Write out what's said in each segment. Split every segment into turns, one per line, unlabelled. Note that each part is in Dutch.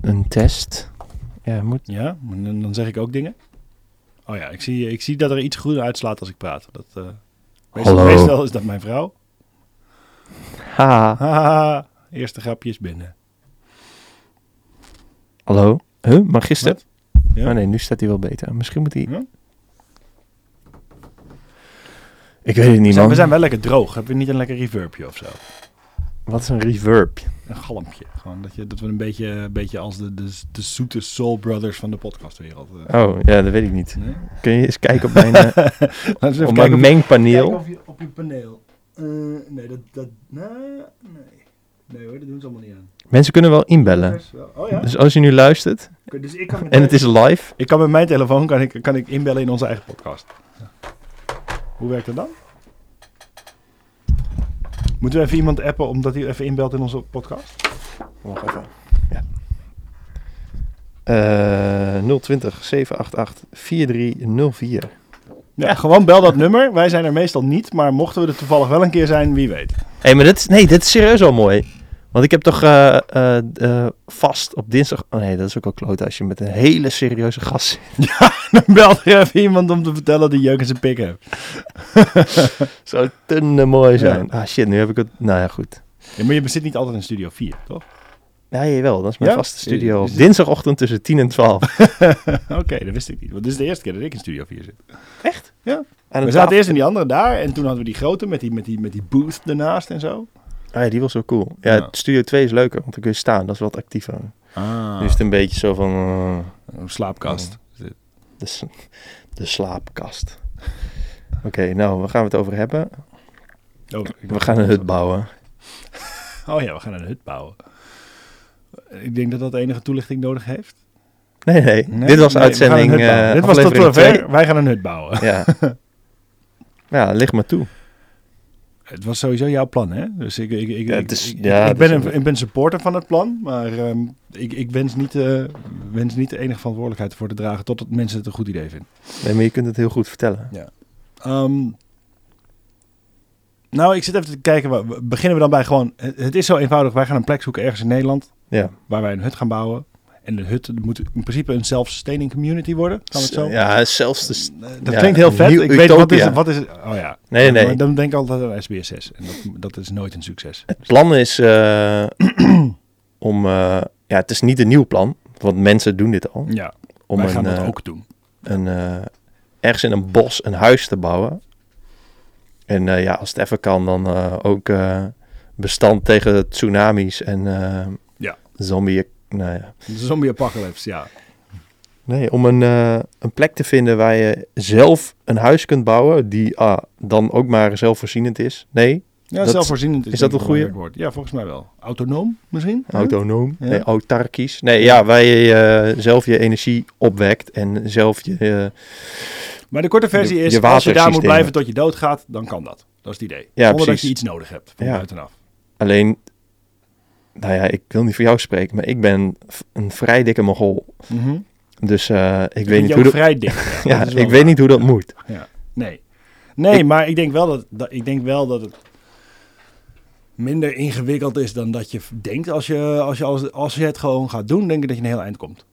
een test. Ja, moet.
Ja, en dan- dan zeg ik ook dingen. Oh ja, ik zie, ik zie dat er iets groen uitslaat als ik praat. Dat, eh, meestal,
Hallo.
meestal is dat mijn vrouw.
Ha.
Haha, eerste grapje is binnen.
Hallo? Huh? Mag gisteren?
Ja.
Oh nee, nu staat hij wel beter. Misschien moet hij...
Ja?
Ik weet het
We
niet,
zijn,
man.
we zijn wel lekker droog. Hebben we niet een lekker reverbje of zo?
Wat is een reverb?
Een galmpje. Gewoon dat, je, dat we een beetje, een beetje als de, de, de zoete Soul Brothers van de podcastwereld. eh,
Oh, ja, dat weet ik niet.
nee?
Kun je eens kijken op mijn, eh,
Laten we eens even
op
kijken
mijn
of-
mengpaneel?
Kijken of je op je paneel. Eh, nee, dat... dat nou, nee. nee hoor, dat doen ze allemaal niet aan.
Mensen kunnen wel inbellen.
Bellers wel. Oh ja?
Dus als je nu luistert
Oké, Dus ik kan met
en het
mijn-
is live...
Ik kan met mijn telefoon kan ik, kan ik inbellen in onze eigen podcast. Hoe werkt dat dan? Moeten we even iemand appen omdat hij even inbelt in onze podcast?
Wacht even. Ja. Eh 020 788 4304.
Ja, gewoon bel dat nummer. Wij zijn er meestal niet, maar mochten we er toevallig wel een keer zijn, wie weet.
Hé, maar dit is, nee, dit is serieus al mooi. Want ik heb toch eh, eh, eh, vast op dinsdag... Oh nee, dat is ook wel kloot als je met een hele serieuze gast zit.
Dan belt er even iemand om te vertellen die jeuk in zijn pik heeft.
Zou tunnen mooi zijn. Ah shit, nu heb ik het... Nou ja, goed.
Ja, maar je zit niet altijd in Studio 4, toch?
Ja, wel. dat is mijn
Ja?
vaste studio.
Is het-
Dinsdagochtend tussen 10 en 12.
Oké, dat wist ik niet. Want dit is de eerste keer dat ik in Studio 4 zit.
Echt?
Ja.
Aan
We
een
zaten
tafel-
eerst in die andere daar en toen hadden we die grote met die, met die, met die booth ernaast en zo.
Ah ja, die was wel cool. Ja,
Ja.
studio 2 is leuker, want dan kun je staan. Dat is wat actiever.
Ah,
Nu is het een beetje zo van... eh,
een slaapkast.
De, s- de slaapkast. Oké, nou, waar gaan we het over hebben?
Oh, ik
We gaan een hut bouwen.
Oh ja, we gaan een hut bouwen. Ik denk dat dat enige toelichting nodig heeft.
Nee, nee. dit was
nee, we gaan een
uitzending.
hut bouwen.
eh,
Dit was tot
aflevering
zover. Wij gaan een hut bouwen.
twee. Ja. ja, ligt maar toe.
Het was sowieso jouw plan, hè? Dus ik, ik, ik,
Ja,
ik-
het is-
ik,
ja,
ik
het
ben
is
een, ik ben supporter van het plan, maar ehm, ik, ik wens, niet, eh, wens niet de enige verantwoordelijkheid voor te dragen totdat mensen het een goed idee vinden.
Nee, maar je kunt het heel goed vertellen.
Ehm, nou, ik zit even te kijken. wa- wa- Beginnen we dan bij gewoon. Het het is zo eenvoudig. Wij gaan een plek zoeken ergens in Nederland
Ja.
waar wij een hut gaan bouwen. En de hut moet in principe een self-sustaining community worden. Gaan we het zo?
Ja, zelfs de... s-
Eh, Dat
Ja,
klinkt heel
een
vet.
nieuw
ik weet wat is,
utopia.
het- wat is het. Oh ja.
Nee, nee.
Maar Dan denk ik altijd aan SBS6. En dat, dat is nooit een succes.
Het plan is eh, om... eh, ja, het is niet een nieuw plan, want mensen doen dit al.
Ja,
Om
wij gaan
een,
dat
eh,
ook doen.
een, eh, ergens in een bos een huis te bouwen. En eh, ja, als het even kan, dan eh, ook eh, bestand tegen tsunamis en eh
Ja.
zombie. Nou ja.
De zombie apocalypse, ja.
Nee, om een, eh, een plek te vinden waar je zelf een huis kunt bouwen, die ah, dan ook maar zelfvoorzienend is. Nee,
Ja,
Dat-
zelfvoorzienend is,
is dat
denk ik
een
wel
goeie?
werkwoord. Ja, volgens mij wel. Autonoom misschien?
autonoom,
Ja.
nee, autarkisch. Nee, ja, waar je eh, zelf je energie opwekt en zelf je... eh,
Maar de korte versie
Je-
is,
je
als je daar moet
watersystemen.
blijven tot je doodgaat, dan kan dat. Dat is het idee. Zonder dat
precies.
je iets nodig hebt van
Ja.
buitenaf.
alleen, nou ja, ik wil niet voor jou spreken, maar ik ben v- een vrij dikke mogol.
Mhm.
Dus eh, ik, weet niet
je
hoe
ook
dat,
vrij dik.
ja,
dat
ik
is wel
weet niet hoe dat moet.
Nee. Nee,
Ik-
maar ik denk, wel dat, dat, ik denk wel dat het minder ingewikkeld is dan dat je denkt. Als je, als je, als, als je het gewoon gaat doen, denk ik dat je een heel eind komt.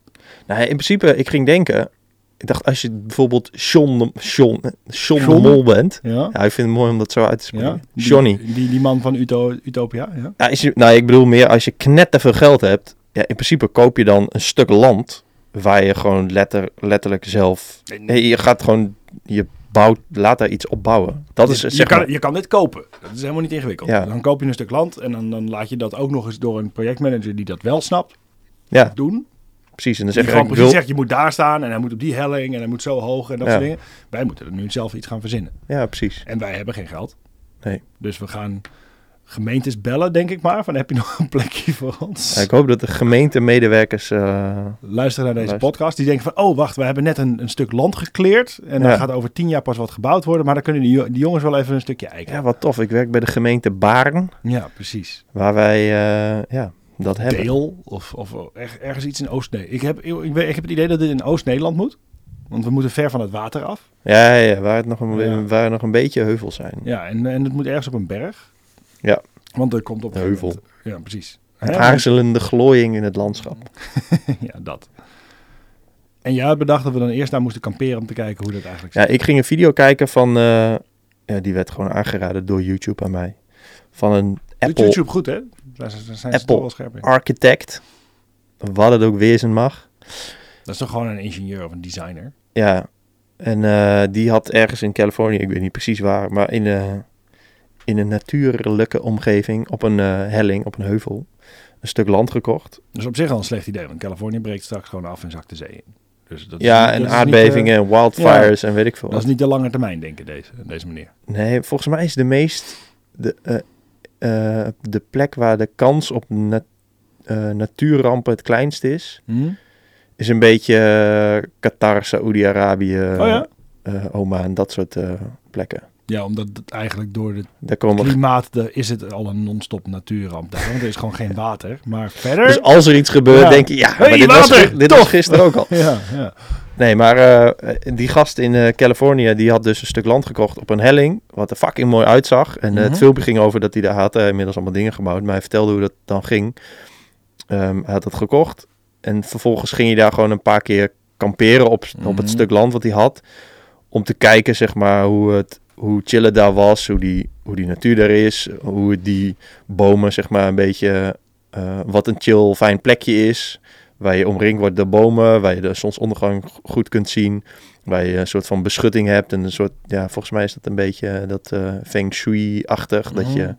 Nou, in principe, ik ging denken. Ik dacht, als je bijvoorbeeld John de, John, John de
John?
Mol bent.
Ja?
Ja, ik vind het mooi om dat zo uit te spreken.
Die-
Johnny.
Die, die, man van Uto, Utopia, ja?
Ja, als je, nou, ik bedoel meer als je knetterveel geld hebt. Ja, in principe koop je dan een stuk land. Waar je gewoon letter, letterlijk zelf. Nee, je gaat gewoon. Je bouwt, laat daar iets opbouwen. Dat is
je,
zeg
kan,
maar,
je kan dit kopen. Dat is helemaal niet ingewikkeld.
Ja.
Dan koop je een stuk land en dan, dan laat je dat ook nog eens door een projectmanager die dat wel snapt
Ja,
doen.
precies. En dan
Die
zeg je,
gewoon
ik
precies
wil.
zegt, je moet daar staan en hij moet op die helling en hij moet zo hoog en dat
Ja.
soort dingen. Wij moeten er nu zelf iets gaan verzinnen.
Ja, precies.
En wij hebben geen geld.
Nee.
Dus we gaan gemeentes bellen, denk ik maar. Van heb je nog een plekje voor ons?
Ja, Nou, ik hoop dat de gemeentemedewerkers. eh,
Luisteren naar deze
Luister.
podcast. Die denken van, oh wacht, we hebben net een, een stuk land gekleerd. En daar
Ja.
gaat over tien jaar pas wat gebouwd worden. Maar dan kunnen die, jo- die jongens wel even een stukje eiken.
ja, wat tof. Ik werk bij de gemeente Baren.
Ja, precies.
Waar wij, eh, ja, dat hebben.
Deel of, of er- ergens iets in Oost-Nederland. Ik heb, ik, weet- ik heb het idee dat dit in Oost-Nederland moet. Want we moeten ver van het water af.
Ja, ja, ja, waar, het nog een,
Ja.
waar nog een beetje heuvels zijn.
Ja, en, en het moet ergens op een berg.
Ja.
Want er komt op een
Een heuvel.
gegeven moment- Ja, precies.
Een aarzelende glooiing in het landschap.
ja, dat. En jij had bedacht dat we dan eerst daar moesten kamperen om te kijken hoe dat eigenlijk
Ja,
zit.
ik ging een video kijken van... eh, ja, die werd gewoon aangeraden door YouTube aan mij. Van een
Doet
Apple
YouTube goed, hè? Daar zijn- daar zijn ze
Apple.
toch wel scherp in.
Architect. Wat het ook wezen mag.
Dat is toch gewoon een ingenieur of een designer?
Ja. En eh, die had ergens in Californië, ik weet niet precies waar, maar in, eh, in een natuurlijke omgeving, op een eh, helling, op een heuvel, een stuk land gekocht.
Dus op zich al een slecht idee, want Californië breekt straks gewoon af en zakt de zee in. Dus dat is
ja,
niet- dat
en
is niet,
aardbevingen en wildfires en weet ik veel.
eh, dat is niet de lange termijn denken, deze, deze meneer.
Nee, volgens mij is de meest. De, eh, eh, de plek waar de kans op na- eh, natuurrampen het kleinst is,
Hm?
is een beetje eh, Qatar, Saoedi-Arabië,
oh ja?
eh, Oman, dat soort eh, plekken.
Ja, omdat het eigenlijk door het
Daar komen
klimaat de, is het al een non-stop natuurramp. daar, want er is gewoon geen water. Maar verder...
Dus als er iets gebeurt,
Ja.
denk je, ja,
Hey,
maar dit, was,
water,
gi- dit
tof.
was gisteren ook al.
ja, ja.
Nee, maar eh, die gast in eh, Californië, die had dus een stuk land gekocht op een helling, wat er fucking mooi uitzag. En eh,
Mhm.
het filmpje ging over dat hij daar had eh, inmiddels allemaal dingen gebouwd, maar hij vertelde hoe dat dan ging. Ehm, hij had het gekocht en vervolgens ging hij daar gewoon een paar keer kamperen op, op
Mhm.
het stuk land wat hij had, om te kijken zeg maar hoe het hoe chillen daar was, hoe die, hoe die natuur daar is, hoe die bomen zeg maar een beetje eh, wat een chill fijn plekje is. Waar je omringd wordt door bomen, waar je de zonsondergang go- goed kunt zien. Waar je een soort van beschutting hebt. En een soort, ja, volgens mij is dat een beetje eh, dat eh, feng shui-achtig. Dat je
Mhm.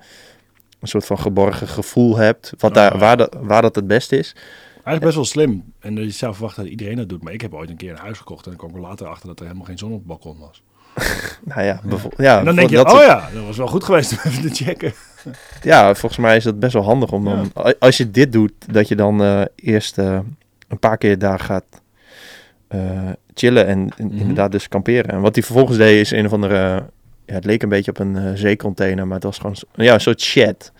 een soort van geborgen gevoel hebt. Wat
Oh,
daar,
ja.
waar, dat, waar dat het beste is.
Eigenlijk best wel slim. En je zou verwachten dat iedereen dat doet. Maar ik heb ooit een keer een huis gekocht en dan kwam ik er later achter dat er helemaal geen zon op het balkon was.
Nou ja, bevo- ja,
en dan denk je,
dat
oh
soort-
ja, dat was wel goed geweest om even te checken.
ja, volgens mij is dat best wel handig om dan... a- Als je dit doet, dat je dan eh, eerst eh, een paar keer daar gaat eh, chillen. En in-
Mhm.
inderdaad dus kamperen. En wat hij vervolgens deed is een of andere... ja, het leek een beetje op een eh, zeecontainer, maar het was gewoon... zo- Ja, een soort shed.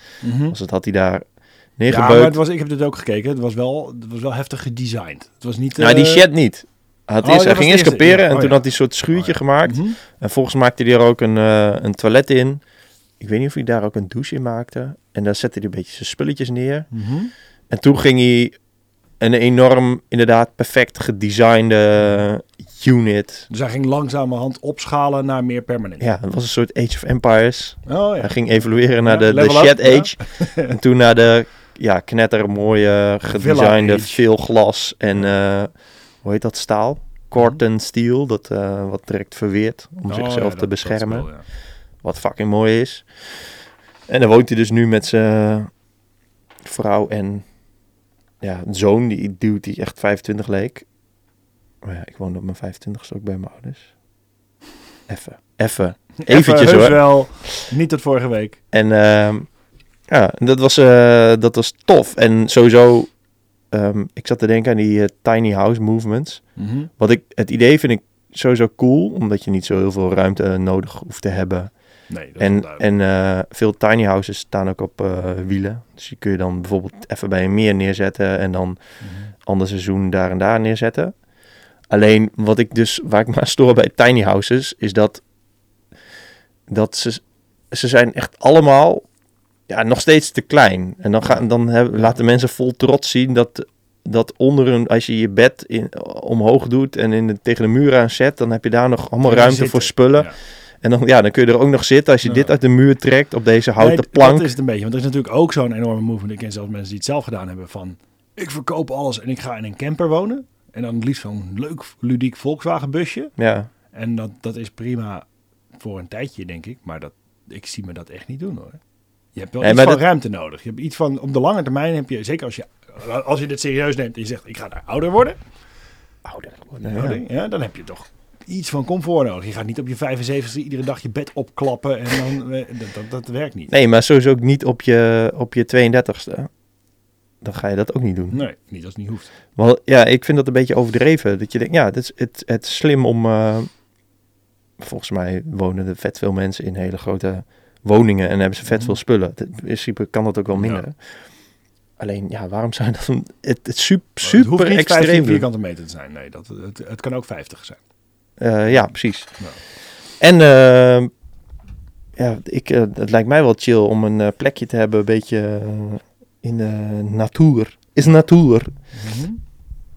Dus dat had hij daar
Ja, maar het
neergebeukt.
was, ik heb dit ook gekeken. Het was wel, het was wel heftig gedesigned. Het was niet...
nou, die
eh,
shed niet. Hij, had
Oh,
eerst,
dat
hij
was
ging
de
eerst
eerste.
kamperen
Ja,
en
oh
toen
ja.
had hij een soort schuurtje gemaakt.
mhm.
En volgens maakte hij er ook een, eh, een toilet in. Ik weet niet of hij daar ook een douche in maakte. En daar zette hij een beetje zijn spulletjes neer.
Mhm.
En toen ging hij een enorm, inderdaad perfect gedesignde unit.
Dus hij ging langzamerhand opschalen naar meer permanent.
Ja, het was een soort Age of Empires.
Oh ja.
Hij ging evolueren naar de,
Ja,
de
level up,
Shed
ja.
Age. en toen naar de ja, knettermooie, gedesignde,
Age.
veel glas en eh, hoe heet dat staal? Corten steel, dat eh, wat direct verweert om
Oh, ja,
zichzelf
dat-
te
dat
beschermen.
spel, ja.
Wat fucking mooi is. En dan woont hij dus nu met zijn vrouw en ja, een zoon, die duwt die echt 25 leek. Maar ja, ik woonde op mijn 25ste ook bij mijn ouders. Even, even. Eventjes
Even, heus
hoor.
wel. Niet tot vorige week.
En ehm, ja, en dat was, eh, dat was tof. En sowieso, ehm, ik zat te denken aan die eh, tiny house movements. Wat ik, het idee vind ik sowieso cool, omdat je niet zo heel veel ruimte eh, nodig hoeft te hebben.
Nee, dat is
en
wel duidelijk.
en eh, veel tiny houses staan ook op eh, wielen. Dus die kun je dan bijvoorbeeld even bij een meer neerzetten en dan
Mhm.
ander seizoen daar en daar neerzetten. Alleen wat ik dus, waar ik me aan stoor bij tiny houses, is dat, dat ze, ze zijn echt allemaal ja, nog steeds te klein. En dan, gaan, dan hebben, laten mensen vol trots zien dat, dat onder hun, als je je bed in, omhoog doet en in de, tegen de muur aan zet, dan heb je daar nog allemaal
Kun je
ruimte
zitten.
voor spullen.
Ja.
En dan, ja, dan kun je er ook nog zitten als je
Ja.
dit uit de muur trekt op deze houten
Nee, d-
plank.
Dat is het een beetje. Want er is natuurlijk ook zo'n enorme movement. Ik ken zelfs mensen die het zelf gedaan hebben van... Ik verkoop alles en ik ga in een camper wonen. En dan het liefst zo'n leuk, ludiek Volkswagen busje.
Ja.
En dat, dat is prima voor een tijdje, denk ik. Maar dat, ik zie me dat echt niet doen, hoor. Je hebt wel
Nee,
iets
maar
van
dat-
ruimte nodig. Je hebt iets van... Op de lange termijn heb je... Zeker als je, als je dit serieus neemt en je zegt... Ik ga daar ouder worden.
Ouder
Ja. dan heb je toch iets van comfort nodig. Je gaat niet op je 75e iedere dag je bed opklappen. En dan, eh, dat, dat, dat werkt niet.
Nee, maar sowieso ook niet op je, op je 32ste. Dan ga je dat ook niet doen.
Nee, niet als het niet hoeft.
Want ja, ik vind dat een beetje overdreven. Dat je denkt, ja, het is, het, het is slim om... eh, volgens mij wonen er vet veel mensen in hele grote woningen en hebben ze vet
Mhm.
veel spullen. Het- In principe kan dat ook wel minder. Alleen, ja, waarom zou je dat... dan- Het, het sup-
het
super,
hoeft niet 15
extreem doen?
vierkante meter te zijn. Nee, dat, het, het kan ook 50 zijn.
Eh, ja, precies.
Ja.
En eh, ja, ik, eh, het lijkt mij wel chill om een eh, plekje te hebben, een beetje eh, in de natuur. Is natuur.
Mhm.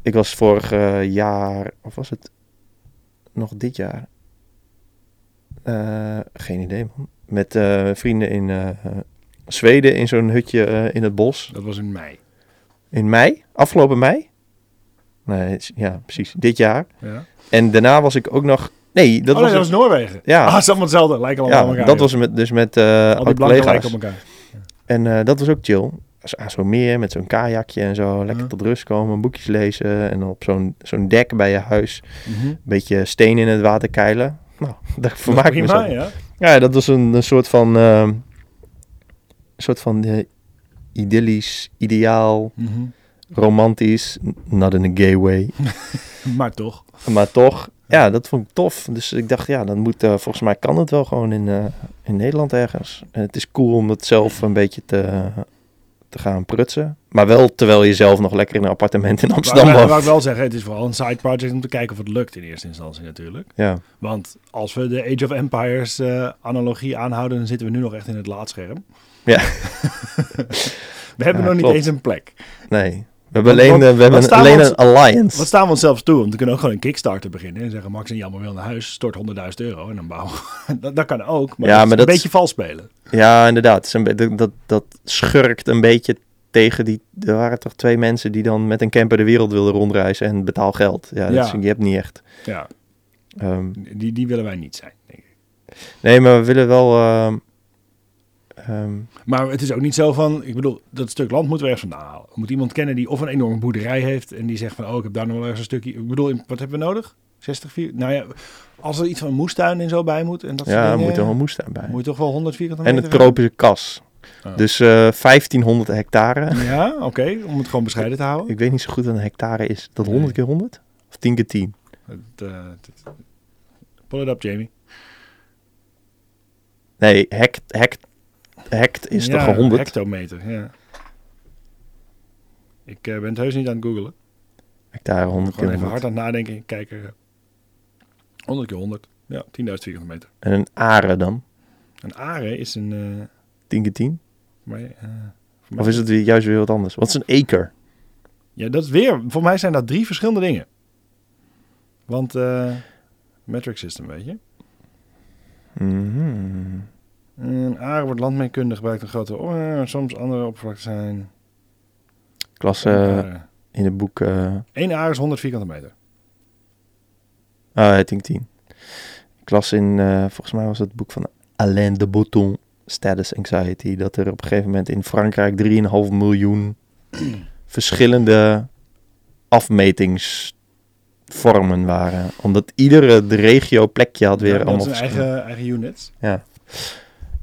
Ik was vorig eh, jaar, of was het nog dit jaar? Eh, geen idee, man. Met eh, vrienden in eh, eh, Zweden in zo'n hutje eh, in het bos.
Dat was in mei.
In mei, afgelopen mei. Nee, het is- ja, precies. Dit jaar.
Ja.
En daarna was ik ook nog. Nee, dat
oh,
was.
nee, dat was
het-
Noorwegen.
Ja.
Ah, het is allemaal hetzelfde. Lijken allemaal
ja,
op elkaar.
dat
joh.
was met, dus met eh
Al die blanken
oud-collega's.
lijken op elkaar.
En eh, dat was ook chill. Zo- Aan zo'n meer met zo'n kajakje en zo. Lekker
Ja.
tot rust komen, boekjes lezen. En op zo'n zo'n dek bij je huis.
Mhm.
Een beetje steen in het water keilen. Nou, daar vermaak ik me zo.
Prima,
Ja.
ja.
dat was een, een soort van... ehm, een soort van eh, idyllisch, ideaal,
Mhm.
romantisch. n- Not in a gay way.
Maar toch.
maar toch, ja, dat vond ik tof. Dus ik dacht, ja, dan moet... eh, volgens mij kan het wel gewoon in, eh, in Nederland ergens. En het is cool om dat zelf een beetje te... te gaan prutsen. Maar wel terwijl je zelf nog lekker in een appartement in
Maar,
Amsterdam
maar,
woont.
wou ik wel zeggen, het is vooral een side project om te kijken of het lukt in eerste instantie natuurlijk.
Ja,
Want als we de Age of Empires eh, analogie aanhouden, dan zitten we nu nog echt in het laadscherm.
Ja.
we hebben
Ja,
nog niet
klopt.
eens een plek.
nee. We hebben
Wat-
alleen,
wat-
eh, we hebben
wat staan
alleen
we
een alliance.
Wat staan we onszelf toe? Want we kunnen ook gewoon een Kickstarter beginnen en zeggen: Max en Jammer wil naar huis, stort 100.000 euro en dan bouwen. we. dat, dat kan ook, maar,
Ja,
dat is
maar
een
dat-
beetje vals spelen.
Ja, inderdaad. Het is een be- dat, dat, dat schurkt een beetje tegen die... Er waren toch twee mensen die dan met een camper de wereld wilden rondreizen en betaal geld. Ja, dat
Ja.
is- je hebt niet echt.
Ja,
Ehm,
die, die willen wij niet zijn, denk ik.
nee, maar we willen wel... ehm, ehm,
Maar het is ook niet zo van, ik bedoel, dat stuk land moeten we ergens vandaan halen. Er moet iemand kennen die of een enorme boerderij heeft en die zegt van, oh, ik heb daar nog wel ergens een stukje. Ik bedoel, in- wat hebben we nodig? 60 vier? Nou ja, als er iets van een moestuin en zo bij moet en dat soort
ja, er
dingen,
moet er wel moestuin bij.
eh, moet je toch wel 100 vierkante
en
meter
een tropische kas.
Oh.
Dus eh, 1500 hectare.
hebben? Ja, oké, om het gewoon bescheiden te houden.
Ik weet niet zo goed wat een hectare is. Dat
Nee.
100 keer 100? Of 10 keer 10?
Het, eh, het- pull it up, Jamie.
Nee, hect, hect, hect is
Ja,
toch 100?
hectometer, ja. Ik eh, ben het heus niet aan het googelen.
Hectare 100 keer
Gewoon even
100.
hard aan het nadenken, kijken. 100 keer 100, ja, 10.000 vierkante meter.
En een are dan?
Een are is een... eh,
10 keer 10?
Maar, eh, voor mij-
Of is het weer, juist weer wat anders? Wat is een acre?
Ja, dat is weer. Voor mij zijn dat drie verschillende dingen. Want eh, metric system, weet je.
Mhm.
Een aarde wordt landmeetkundig gebruikt een grote. Oh, soms andere oppervlakte zijn.
Ik las eh, in het boek eh
Eén aarde is 100 vierkante meter.
eh 10 keer 10. Ik las in, eh, volgens mij was het boek van Alain de Botton, Status Anxiety, dat er op een gegeven moment in Frankrijk 3,5 miljoen verschillende afmetingsvormen waren. Omdat iedere regio plekje had weer
Ja, dat
allemaal
is een
verschillende-
eigen, eigen units.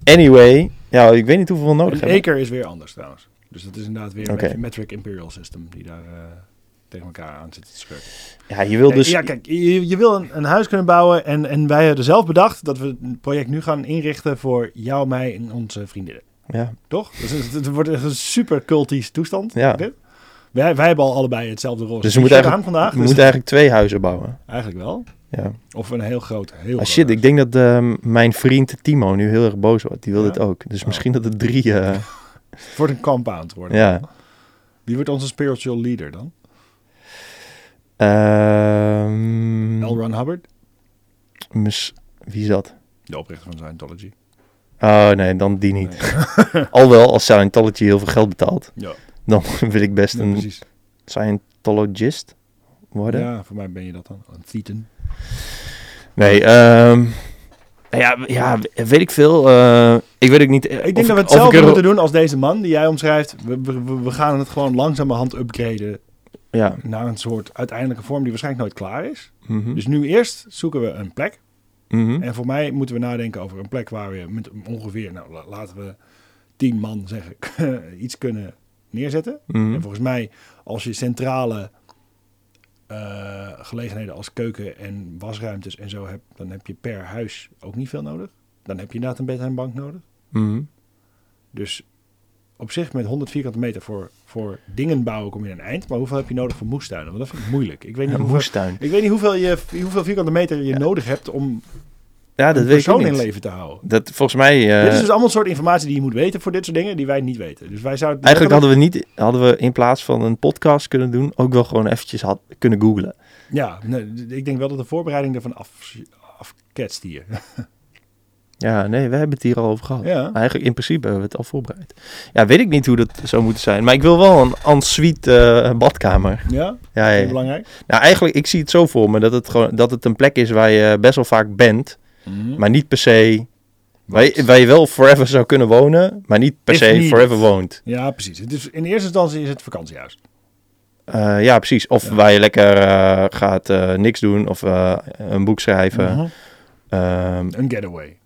Anyway, ja, ik weet niet hoeveel we nodig
Een
hebben.
acre is weer anders trouwens. Dus dat is inderdaad weer
Oké.
een metric imperial system die daar eh, tegen elkaar aan zit te schurken.
Ja, je wil
Ja,
dus...
Ja, kijk, je, je wil een, een huis kunnen bouwen en, en wij hebben zelf bedacht dat we het project nu gaan inrichten voor jou, mij en onze vriendinnen.
Ja,
Toch? Dus het, het wordt echt een super cultisch toestand.
Ja.
dit. Wij, wij hebben al allebei hetzelfde roze
Dus we moeten
t-shirt
eigenlijk-
aan vandaag.
je
dus
moet eigenlijk twee huizen bouwen.
eigenlijk wel.
Ja.
Of een heel groot, heel
Ah,
groot
shit,
huis.
ik denk dat ehm, mijn vriend Timo nu heel erg boos wordt. Die wil
Ja?
dit ook. Dus
Oh.
misschien dat het drie... eh,
Het wordt een compound worden.
ja.
Wie wordt onze spiritual leader dan?
Ehm,
L. Ron Hubbard?
mis- Wie is dat?
De oprichter van Scientology.
Oh nee, dan die niet.
Nee.
Al wel, als Scientology heel veel geld betaalt,
Ja,
dan wil ik best
nee,
een
precies.
Scientologist worden.
Ja, voor mij ben je dat dan. Een Thetan.
Nee, ehm, ja, ja, weet ik veel. eh, ik weet ook niet.
Ik denk dat we hetzelfde moeten doen als deze man die jij omschrijft. We, we, we- we gaan het gewoon langzamerhand upgraden
Ja.
naar een soort uiteindelijke vorm die waarschijnlijk nooit klaar is.
mhm,
Dus nu eerst zoeken we een plek.
mhm.
En voor mij moeten we nadenken over een plek waar we met ongeveer, nou la- laten we tien man zeggen, iets kunnen neerzetten.
Mhm.
En volgens mij, als je centrale eh, gelegenheden als keuken en wasruimtes en zo hebt, dan heb je per huis ook niet veel nodig. Dan heb je inderdaad een bed en een bank nodig.
mhm.
Dus op zich met 100 vierkante meter voor, voor dingen bouwen kom je aan een eind. Maar hoeveel heb je nodig voor moestuinen? Want dat vind ik moeilijk. Ik weet niet,
Een
hoeveel,
moestuin.
ik weet niet hoeveel, je, hoeveel vierkante meter je nodig hebt om
ja, dat
een
weet ik ook
persoon in
niet.
leven te houden.
Dat volgens mij... eh,
dit is dus allemaal soort informatie die je moet weten voor dit soort dingen die wij niet weten. Dus wij zouden
Eigenlijk hadden we, niet, hadden we in plaats van een podcast kunnen doen... ook wel gewoon eventjes had, kunnen googlen.
Ja, nee, d- ik denk wel dat de voorbereiding ervan af, afketst hier.
Ja, nee, we hebben het hier al over gehad.
Ja.
Eigenlijk in principe hebben we het al voorbereid. Ja, weet ik niet hoe dat zou moeten zijn. Maar ik wil wel een ensuite eh, badkamer.
Ja,
Ja, ja,
heel
ja.
belangrijk.
Nou, eigenlijk, ik zie het zo voor me dat het, gewoon, dat het een plek is waar je best wel vaak bent. Maar niet per se... Waar je, waar je wel forever zou kunnen wonen, maar niet per
If
se
needed.
forever woont.
Ja, precies. Het is, in eerste instantie is het vakantiehuis.
Eh, ja, precies. Of
Ja.
waar je lekker eh, gaat eh, niks doen of eh, een boek schrijven.
Mhm.
Ehm,
Een getaway.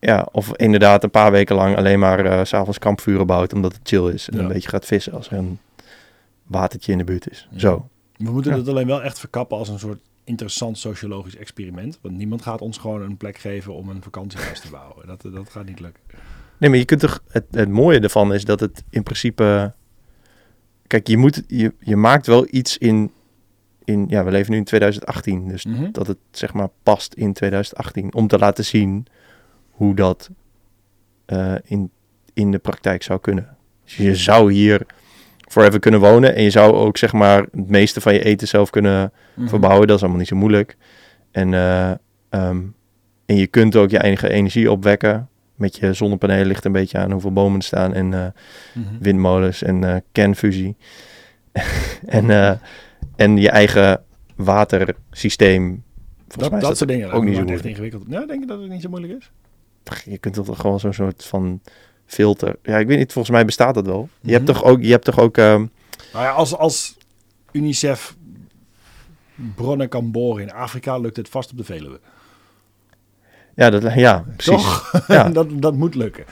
ja, of inderdaad een paar weken lang alleen maar eh, s s'avonds kampvuren bouwt omdat het chill is. En
Ja.
een beetje gaat vissen als er een watertje in de buurt is.
Ja.
Zo.
We moeten
Ja.
dat alleen wel echt verkappen als een soort interessant sociologisch experiment. Want niemand gaat ons gewoon een plek geven om een vakantiehuis te bouwen. Dat, eh, dat gaat niet lukken.
Nee, maar je kunt toch... Het, het mooie ervan is dat het in principe... Kijk, je, moet, je, je maakt wel iets in, in... Ja, we leven nu in 2018. Dus
Mhm.
dat het zeg maar past in 2018. Om te laten zien hoe dat eh, in, in de praktijk zou kunnen. Dus je zou hier forever kunnen wonen. En je zou ook zeg maar het meeste van je eten zelf kunnen
Mhm.
verbouwen. Dat is allemaal niet zo moeilijk. En, eh, ehm, en je kunt ook je eigen energie opwekken. Met je zonnepanelen ligt een beetje aan hoeveel bomen er staan. En eh,
Mhm.
windmolens en eh, kernfusie. en, eh, en je eigen watersysteem. Volgens
Dat,
mij
dat,
is dat,
soort dingen.
ook niet zo
Maar echt
moeilijk.
ingewikkeld. Nou, denk je dat het niet zo moeilijk is?
je kunt toch gewoon zo'n soort van filter. Ja, ik weet niet, volgens mij bestaat dat wel. Je hebt
Mhm.
toch ook, je hebt toch ook ehm,
Nou ja, als, als UNICEF bronnen kan boren in Afrika, lukt het vast op de Veluwe.
ja, dat, ja, precies.
Toch?
Ja.
dat, dat moet lukken.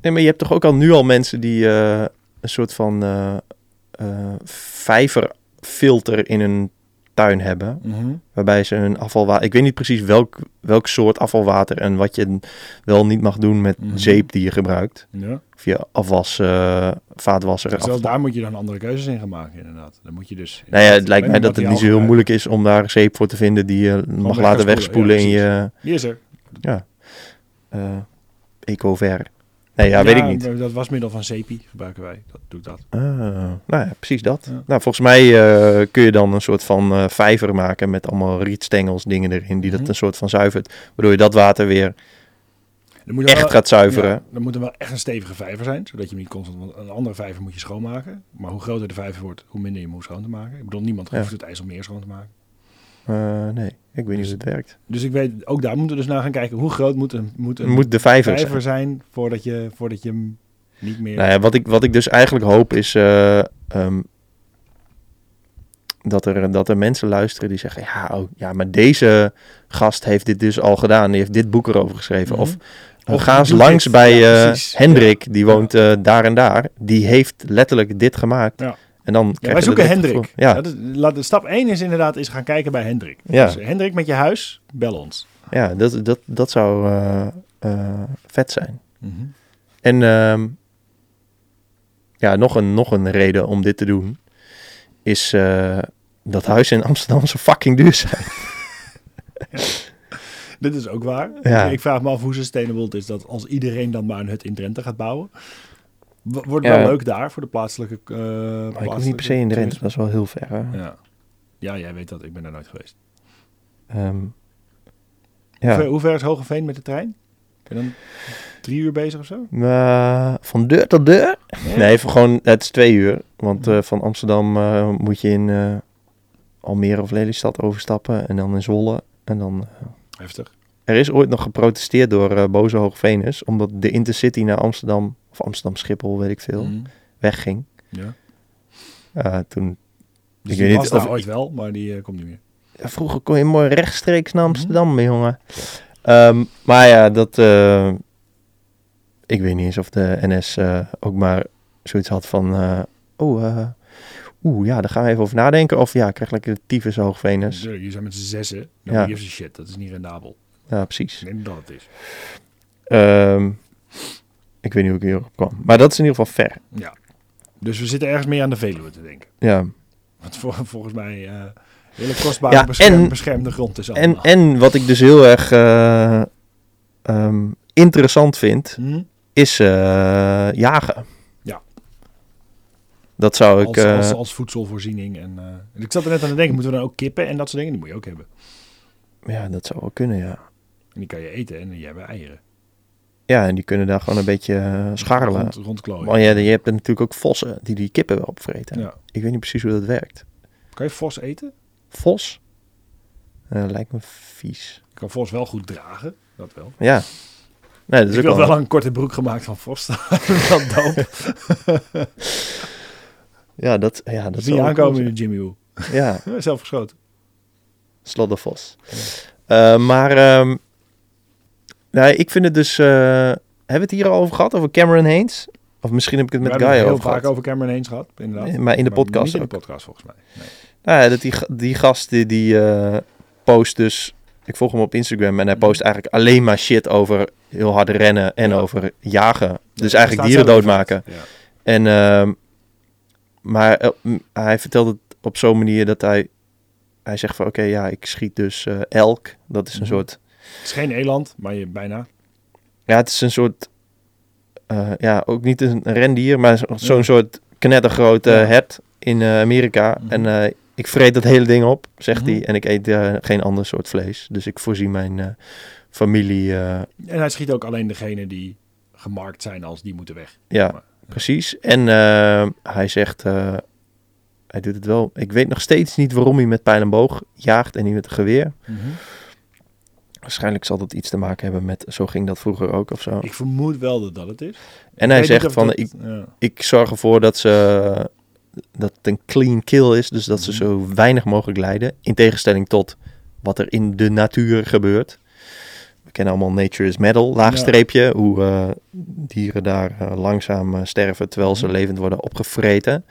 Nee, maar je hebt toch ook al nu al mensen die eh, een soort van eh, eh, vijverfilter in hun tuin hebben. Waarbij ze hun afvalwater. Ik weet niet precies welk, welk soort afvalwater en wat je wel niet mag doen met
Mhm.
zeep die je gebruikt.
ja.
Of je afwas, eh, vaatwasser.
Zelfs
af-
daar moet je dan andere keuzes in gaan maken, inderdaad. Dan moet je dus...
Nou ja, het lijkt mij
Alleen
dat het niet zo heel
materiaal
moeilijk is om daar zeep voor te vinden die je mag laten
weg kan spoelen,
wegspoelen
ja,
in je
gebruiken. Die is er.
eh ecover. Nee, ja, weet ik niet.
Dat wasmiddel van Zepi gebruiken wij. Dat doet dat.
Ah, nou ja, precies dat.
Ja.
Nou, volgens mij eh, kun je dan een soort van eh, vijver maken met allemaal rietstengels, dingen erin, die dat
Mhm.
een soort van zuivert. Waardoor je dat water weer
Dan moet er wel-
echt gaat zuiveren.
Ja, dan moet er wel echt een stevige vijver zijn, zodat je hem niet constant... Want een andere vijver moet je schoonmaken. Maar hoe groter de vijver wordt, hoe minder je hem hoeft schoon te maken. Ik bedoel, niemand
Ja.
hoeft het IJsselmeer schoon te maken.
Eh, nee, ik weet niet hoe het werkt.
Dus ik weet, ook daar moeten we dus naar gaan kijken. Hoe groot moet een, moet een
Moet de vijver zijn.
vijver zijn voordat je, voordat je hem niet meer...
Nou ja, wat ik, wat ik dus eigenlijk hoop is eh, ehm, dat, er, dat er mensen luisteren die zeggen: ja, oh, ja, maar deze gast heeft dit dus al gedaan. Die heeft dit boek erover geschreven.
Mhm.
Of
Of
ga eens
doe
langs
dit.
bij
Ja,
eh,
precies.
Hendrik, die
Ja.
woont eh, daar en daar. Die heeft letterlijk dit gemaakt.
Ja.
En dan
Ja,
krijg
wij
je
zoeken
dat
Hendrik.
gevoel. Ja,
Dat is- laat, stap 1 is inderdaad is gaan kijken bij Hendrik.
Ja.
Dus Hendrik met je huis, bel ons.
ja dat, dat, dat zou eh, eh, vet zijn.
Mhm.
En ehm, ja, nog een, nog een reden om dit te doen is eh, dat huizen in Amsterdam zo fucking duur zijn.
Dit is ook waar.
Ja.
Ik vraag me af hoe sustainable het is dat als iedereen dan maar een hut in Drenthe gaat bouwen. W- Wordt
Ja.
wel leuk daar voor de plaatselijke... eh
Maar ik hoef niet per se in Drenthe, dat is wel heel ver. hè.
Ja. ja, jij weet dat. Ik ben daar nooit geweest.
Ehm,
Hoe, ver,
ja.
hoe ver is Hogeveen met de trein? Ben je dan drie uur bezig of zo?
Eh, van deur tot deur? Nee, voor gewoon, het is twee uur. Want eh, van Amsterdam eh, moet je in eh, Almere of Lelystad overstappen en dan in Zwolle. En dan, eh,
Heftig.
er is ooit nog geprotesteerd door eh, boze Hoogvenus, omdat de Intercity naar Amsterdam, of Amsterdam-Schiphol, weet ik veel,
Mhm.
wegging.
Ja.
Eh, toen,
Dus
ik
die
weet niet
was daar
of-
ooit wel, maar die eh, komt niet meer.
vroeger kon je mooi rechtstreeks
Mhm.
naar Amsterdam, mee, jongen. Ehm, maar ja, dat. eh, ik weet niet eens of de NS eh, ook maar zoiets had van. eh, oh, eh, oeh, ja, daar gaan we even over nadenken. Of ja, ik krijg lekker de tyfus hoogvenus.
Natuurlijk, je zijn met z'n zessen.
Ja.
Nou, ja. shit. Dat is niet rendabel.
Ja, precies.
Ik denk dat het is.
Ehm, ik weet niet hoe ik hierop kwam. Maar dat is in ieder geval ver.
Ja. Dus we zitten ergens meer aan de Veluwe te denken.
Ja.
Want vol- volgens mij eh hele kostbare
Ja,
bescherm-
en-
beschermde grond is allemaal.
En, en wat ik dus heel erg eh, ehm, interessant vind,
Hm?
is eh, jagen.
Ja.
Dat zou ik...
Als,
eh,
als, als voedselvoorziening. En, eh, ik zat er net aan te denken, moeten we dan ook kippen en dat soort dingen? Die moet je ook hebben.
Ja, dat zou wel kunnen, ja.
En die kan je eten en die hebben eieren.
Ja, en die kunnen daar gewoon een beetje eh, scharrelen.
Rond, rondklooien.
Maar ja, je hebt er natuurlijk ook vossen die die kippen wel opvreten.
Ja.
Ik weet niet precies hoe dat werkt.
Kan je vos eten?
Vos? Eh, lijkt me vies.
Ik kan vos wel goed dragen, dat wel.
Ja. Nee, dat is
ik
ook
heb
wel...
wel een korte broek gemaakt van vos. dat is wel dope.
Ja, dat, ja, dat
Dat
is
zie je aankomen in de Jimmy Woo.
Ja,
Zelf geschoten.
Slot de Vos. Eh, maar ehm, nou, ik vind het dus... eh, hebben we het hier al over gehad? Over Cameron Haynes? Of misschien heb ik het
We
met
hebben het
Guy
heel
over
vaak
gehad.
over Cameron Haynes gehad, inderdaad.
Eh, Maar in de
Maar
podcast
Niet in
ook.
de podcast, volgens mij. Nee.
Nou ja, dat die, ga- die gast die, die eh, post dus... Ik volg hem op Instagram en hij post eigenlijk alleen maar shit over heel hard rennen en
Mhm. Ja.
over jagen. Dus
Ja,
eigenlijk
staat
dieren
zelf in het
doodmaken.
veld. Ja.
En, ehm, maar eh, m- hij vertelt het op zo'n manier dat hij... Hij zegt van oké, ja, ik schiet dus eh, elk. Dat is een
Mhm.
soort...
Het is geen eland, maar je bijna.
Ja, het is een soort... eh, ja, ook niet een rendier, maar zo- zo'n
Ja.
soort knettergrote
Ja.
hert in eh, Amerika.
Mhm.
En eh, ik vreet dat hele ding op, zegt
Mhm.
hij. En ik eet eh, geen ander soort vlees. Dus ik voorzie mijn eh, familie... eh,
En hij schiet ook alleen degene die gemarkt zijn als die moeten weg.
Ja,
Maar-
precies. En eh, hij zegt, eh, hij doet het wel. Ik weet nog steeds niet waarom hij met pijl en boog jaagt en niet met een geweer. Waarschijnlijk zal dat iets te maken hebben met, zo ging dat vroeger ook of zo.
Ik vermoed wel dat dat het is.
en hij
Ik weet niet
zegt
of
van,
dat-
ik,
ja.
ik zorg ervoor dat ze, dat het een clean kill is. Dus dat ze
Mhm.
zo weinig mogelijk lijden. In tegenstelling tot wat er in de natuur gebeurt. We kennen allemaal Nature is Metal, laagstreepje. Hoe eh, dieren daar eh, langzaam eh, sterven terwijl ze
Mhm.
levend worden opgevreten.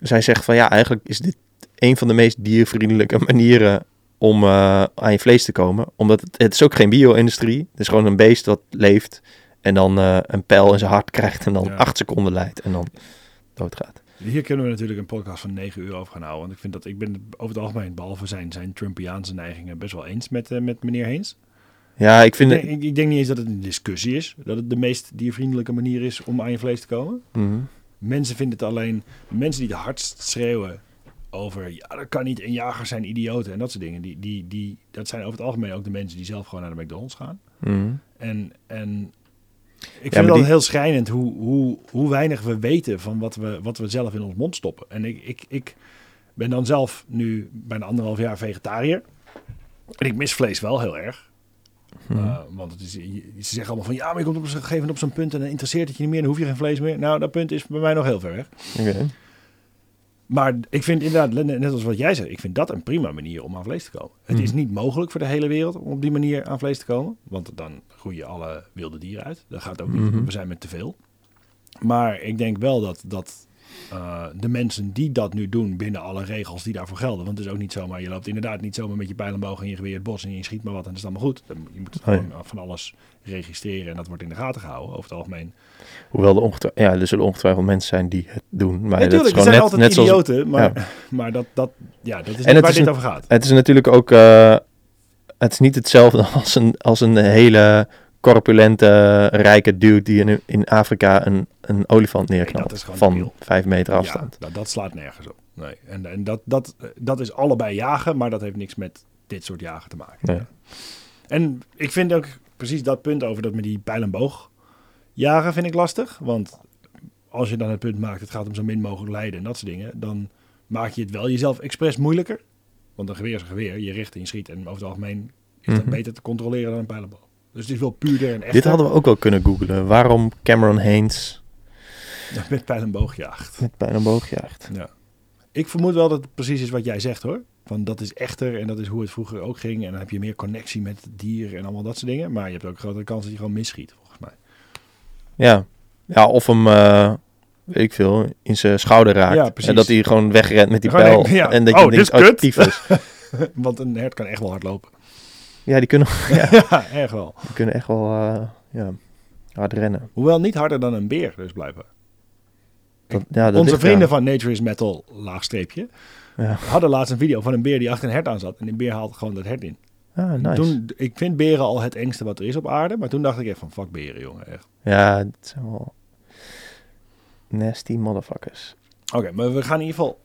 Dus hij zegt van ja, eigenlijk is dit een van de meest diervriendelijke manieren om eh, aan je vlees te komen. Omdat het, het is ook geen bio-industrie. Het is gewoon een beest dat leeft en dan eh, een pijl in zijn hart krijgt en dan
Ja.
acht seconden lijdt en dan doodgaat.
Hier kunnen we natuurlijk een podcast van 9 uur over gaan houden. Want ik vind dat ik ben het over het algemeen, behalve zijn, zijn Trumpiaanse neigingen, best wel eens met, eh, met meneer Heens.
Ja, ik
Ik
vind
denk,
het...
ik, ik denk niet eens dat het een discussie is. Dat het de meest diervriendelijke manier is om aan je vlees te komen.
Mhm.
Mensen vinden het alleen, mensen die het hardst schreeuwen over, ja dat kan niet, en jagers zijn idioten en dat soort dingen. Die, die, die, dat zijn over het algemeen ook de mensen die zelf gewoon naar de McDonald's gaan.
Mhm.
En, en ik
maar
vind het altijd
die-
heel schrijnend hoe, hoe, hoe weinig we weten van wat we, wat we zelf in ons mond stoppen. En ik, ik, ik ben dan zelf nu bijna anderhalf jaar vegetariër. En ik mis vlees wel heel erg.
Mhm.
Uh, want het is, je- ze zeggen allemaal van ja, maar je komt op een gegeven moment op zo'n punt en dan interesseert het je niet meer, dan hoef je geen vlees meer. Nou, dat punt is bij mij nog heel ver weg.
Oké.
Maar ik vind inderdaad, net net als wat jij zei, ik vind dat een prima manier om aan vlees te komen. Het
Mhm.
is niet mogelijk voor de hele wereld om op die manier aan vlees te komen. Want dan groeien alle wilde dieren uit. Dat gaat ook niet.
Mhm.
We zijn met te veel. Maar ik denk wel dat, dat eh, de mensen die dat nu doen binnen alle regels die daarvoor gelden. Want het is ook niet zomaar, je loopt inderdaad niet zomaar met je pijlenboog en je geweer het bos en je schiet maar wat en dat is allemaal goed. Dan, je moet het
Nee.
gewoon eh, van alles registreren en dat wordt in de gaten gehouden over het algemeen.
Hoewel er, ongetwij- ja, er zullen ongetwijfeld mensen zijn die het doen. Maar dat is
Natuurlijk,
gewoon
er zijn
net,
altijd
net zoals
idioten, maar, maar dat, dat, ja, dat is
het
niet waar
is
dit
een-
over gaat.
Het is natuurlijk ook. eh, het is niet hetzelfde als een, als een hele corpulente, rijke dude die in, in Afrika een, een olifant neerknalt.
dat is gewoon
van
debiel.
vijf meter afstand.
Ja, dat, dat slaat nergens op. Nee. En, en dat, dat, dat is allebei jagen, maar dat heeft niks met dit soort jagen te maken.
Nee.
Ja. En ik vind ook precies dat punt over dat met die pijl en boog jagen vind ik lastig. Want als je dan het punt maakt, het gaat om zo min mogelijk lijden en dat soort dingen, dan maak je het wel jezelf expres moeilijker. Want een geweer is een geweer, je richt en je schiet en over het algemeen is dat
Mhm.
beter te controleren dan een pijl en boog. Dus het is wel puurder en echter
Dit hadden we ook wel kunnen googlen. Waarom Cameron Haynes
dan met pijl en boog jaagt.
met pijn en boog jaagt.
Ja. Ik vermoed wel dat het precies is wat jij zegt hoor. Van dat is echter en dat is hoe het vroeger ook ging. En dan heb je meer connectie met het dier en allemaal dat soort dingen. Maar je hebt ook een grotere kans dat je gewoon misschiet, volgens mij.
Ja. ja, of hem, eh, weet ik veel, in zijn schouder raakt.
Ja, precies.
En dat hij gewoon wegrent met die
Gewoon
pijl.
denkt, ja,
En dat
oh,
je
dit
denkt,
is
oh,
kut.
tyfus.
Want een hert kan echt wel hard lopen.
Ja, die kunnen,
Ja, echt wel.
die kunnen echt wel eh, ja, hard rennen.
Hoewel niet harder dan een beer, dus blijkbaar.
Dat, ja, dat
Onze
ligt eraan.
vrienden van Nature is Metal, laagstreepje,
Ja.
hadden laatst een video van een beer die achter een hert aan zat. En die beer haalt gewoon dat hert in.
Ah, nice.
Toen, ik vind beren al het engste wat er is op aarde. Maar toen dacht ik echt van, fuck beren, jongen. Echt.
Ja, het zijn wel nasty motherfuckers.
Oké, maar we gaan in ieder geval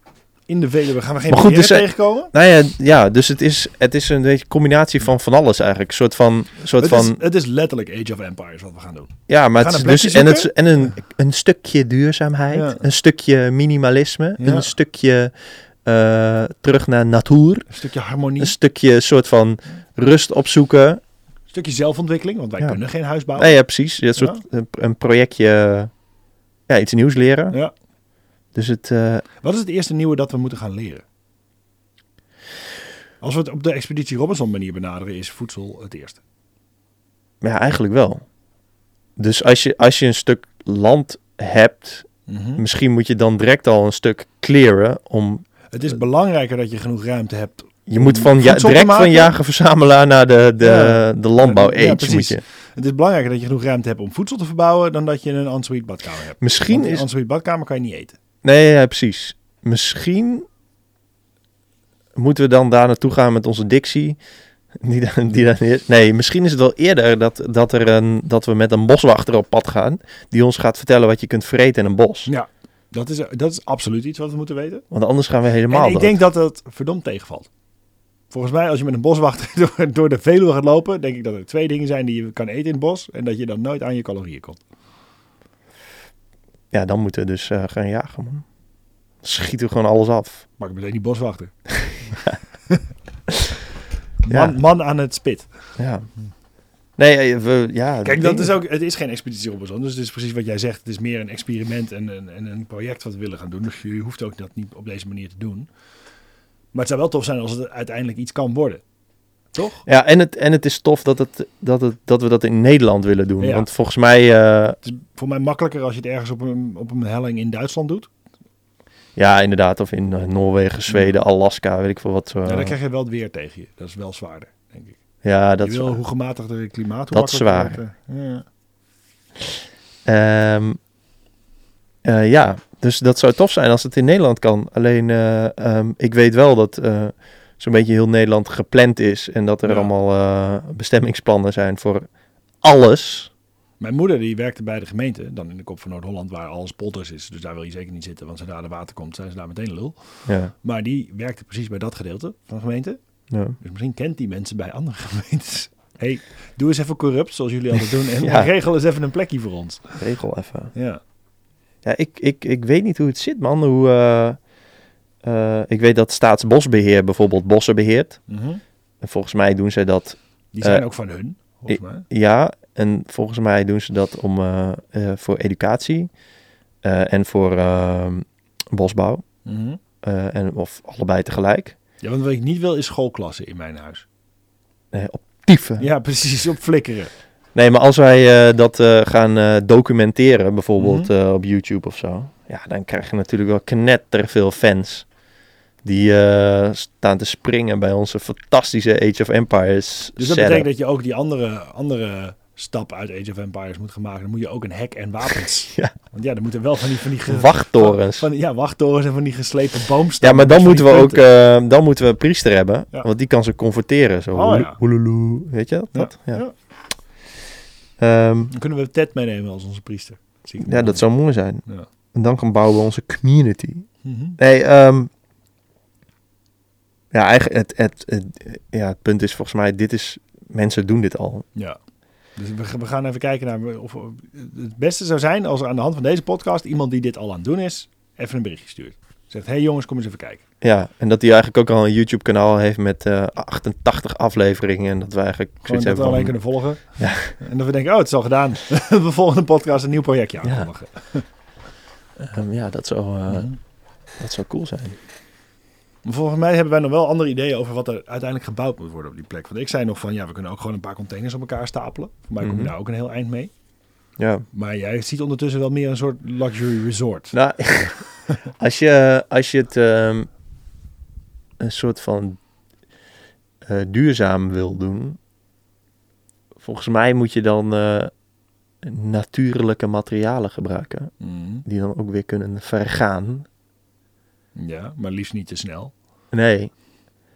in de Veluwe gaan we geen
Maar goed,
beren
dus, eh,
tegenkomen.
Nou ja, ja dus het is, het is een beetje combinatie van van alles eigenlijk. Een soort van... Soort
Het,
van
is, het is letterlijk Age of Empires wat we gaan doen.
ja, maar
we
het
gaan
is dus...
een plekje
En, het, en een, een stukje duurzaamheid.
Ja.
Een stukje minimalisme.
Ja.
Een stukje eh, terug naar natuur.
Een stukje harmonie,
Een stukje soort van rust opzoeken.
een stukje zelfontwikkeling. Want wij
Ja.
kunnen geen huis bouwen.
Nee, ja, precies. Ja, Een, soort, een- een projectje... Ja, iets nieuws leren.
Ja.
Dus het... eh,
Wat is het eerste nieuwe dat we moeten gaan leren? Als we het op de Expeditie Robinson manier benaderen, is voedsel het eerste.
ja, eigenlijk wel. Dus als je, als je een stuk land hebt...
Hm? Mm-hmm.
Misschien moet je dan direct al een stuk clearen om...
Het is belangrijker dat je genoeg ruimte hebt.
Je moet van ja,
Voedsel te
direct van
maken?
jager-verzamelaar naar de, de,
Ja.
de landbouw
Ja,
age
precies.
moet je.
Het is belangrijker dat je genoeg ruimte hebt om voedsel te verbouwen dan dat je een ensuite badkamer hebt.
Misschien
Want in
is...
een ensuite badkamer kan je niet eten.
Nee, ja, precies. Misschien moeten we dan daar naartoe gaan met onze dictie. Die, daar- die, daar neer- nee, misschien is het wel eerder dat, dat, er een, dat we met een boswachter op pad gaan... die ons gaat vertellen wat je kunt vreten in een bos.
Ja, dat is, dat is absoluut iets wat we moeten weten.
Want anders gaan we helemaal
En ik
dood.
denk dat dat verdomd tegenvalt. Volgens mij, als je met een boswachter door, door de Veluwe gaat lopen, denk ik dat er twee dingen zijn die je kan eten in het bos en dat je dan nooit aan je calorieën komt.
Ja, dan moeten we dus eh, gaan jagen, man. Schieten we gewoon alles af.
Maar ik meteen die boswachter.
Ja.
Man, man aan het spit.
Ja. Nee, eh, we, ja.
Kijk,
ding-
dat is ook, het is geen expeditie Robinson, dus het is precies wat jij zegt. Het is meer een experiment en een, en een project wat we willen gaan doen. Dus je hoeft ook dat niet op deze manier te doen. Maar het zou wel tof zijn als het uiteindelijk iets kan worden. Toch?
Ja, en het, en het is tof dat, het, dat, het, dat we dat in Nederland willen doen.
Ja.
Want volgens mij, eh,
Het is voor mij makkelijker als je het ergens op een, op een helling in Duitsland doet.
ja, inderdaad, of in eh, Noorwegen, Zweden, Alaska, weet ik veel wat. eh,
Ja, dan krijg je wel het weer tegen je. Dat is wel zwaarder, denk ik.
ja, dat
je
is
wil
waar.
hoe gematigder het klimaat, hoe
Dat is
makkelijker het, eh, ja.
Ehm, eh, ja, dus dat zou tof zijn als het in Nederland kan. Alleen, eh, ehm, ik weet wel dat eh, zo'n beetje heel Nederland gepland is. En dat er
Ja.
allemaal eh, bestemmingsplannen zijn voor alles.
Mijn moeder die werkte bij de gemeente, dan in de kop van Noord-Holland, waar alles polders is. Dus daar wil je zeker niet zitten, want zodra er water komt, zijn ze daar meteen lul.
Ja,
Maar die werkte precies bij dat gedeelte van de gemeente.
ja.
Dus misschien kent die mensen bij andere gemeentes. hey, doe eens even corrupt, zoals jullie altijd doen. En
Ja.
regel eens even een plekje voor ons.
regel even.
Ja.
Ja, ik, ik, ik weet niet hoe het zit, man. Hoe, eh, eh, ik weet dat Staatsbosbeheer bijvoorbeeld bossen beheert.
Mhm.
En volgens mij doen ze dat,
Die zijn
Eh,
ook van hun, volgens mij.
ja. En volgens mij doen ze dat om, eh, eh, voor educatie eh, en voor ehm, bosbouw.
Mhm.
Eh, en, of allebei tegelijk.
Ja, want wat ik niet wil is schoolklassen in mijn huis.
Nee, op tieven.
Ja, precies, op flikkeren.
Nee, maar als wij eh, dat eh, gaan eh, documenteren, bijvoorbeeld
Mhm.
eh, op YouTube of zo, ja, dan krijg je natuurlijk wel knetter veel fans. Die eh, staan te springen bij onze fantastische Age of Empires.
Dus dat
setup.
betekent dat je ook die andere, andere stap uit Age of Empires moet gaan maken. Dan moet je ook een hek en wapens.
Ja.
Want ja, dan moeten wel van die... Van die ge-
Wachttorens.
Van, ja, wachttorens en van die geslepen boomstammen.
ja, maar
met
dan
van die
moeten we ook
punten.
eh, dan moeten we een priester hebben,
Ja.
want die kan ze confronteren. Zo,
Oh, ja.
hoeloeloe, weet je dat?
Ja,
Dat? Ja.
ja.
Ehm,
Dan kunnen we Ted meenemen als onze priester. Zie ik
ja, dat zou mooi zijn.
Ja.
En dan kan bouwen we onze community.
Mhm.
Nee, ehm, ja, eigenlijk het, het, het- ja, het punt is volgens mij, dit is, mensen doen dit al.
Ja. Dus we, we gaan even kijken naar of of- het beste zou zijn als er aan de hand van deze podcast iemand die dit al aan het doen is, even een berichtje stuurt. Zegt: hey jongens, kom eens even kijken.
Ja, en dat hij eigenlijk ook al een YouTube kanaal heeft met eh, 88 afleveringen en dat wij eigenlijk
Gewoon
zoiets
dat we
hebben
alleen
van,
kunnen volgen. En dat we denken: oh, het is al gedaan. we volgende podcast een nieuw projectje
Ja.
aankondigen.
ehm, ja, dat zou, eh,
Mhm.
dat zou cool zijn.
Maar volgens mij hebben wij nog wel andere ideeën over wat er uiteindelijk gebouwd moet worden op die plek. Want ik zei nog van ja, we kunnen ook gewoon een paar containers op elkaar stapelen. Voor mij kom je
Mhm.
daar ook een heel eind mee.
Ja,
Maar jij ziet ondertussen wel meer een soort luxury resort.
nou, als je, als je het ehm, een soort van eh, duurzaam wil doen, volgens mij moet je dan eh, natuurlijke materialen gebruiken.
Mhm.
die dan ook weer kunnen vergaan.
Ja, maar liefst niet te snel.
Nee.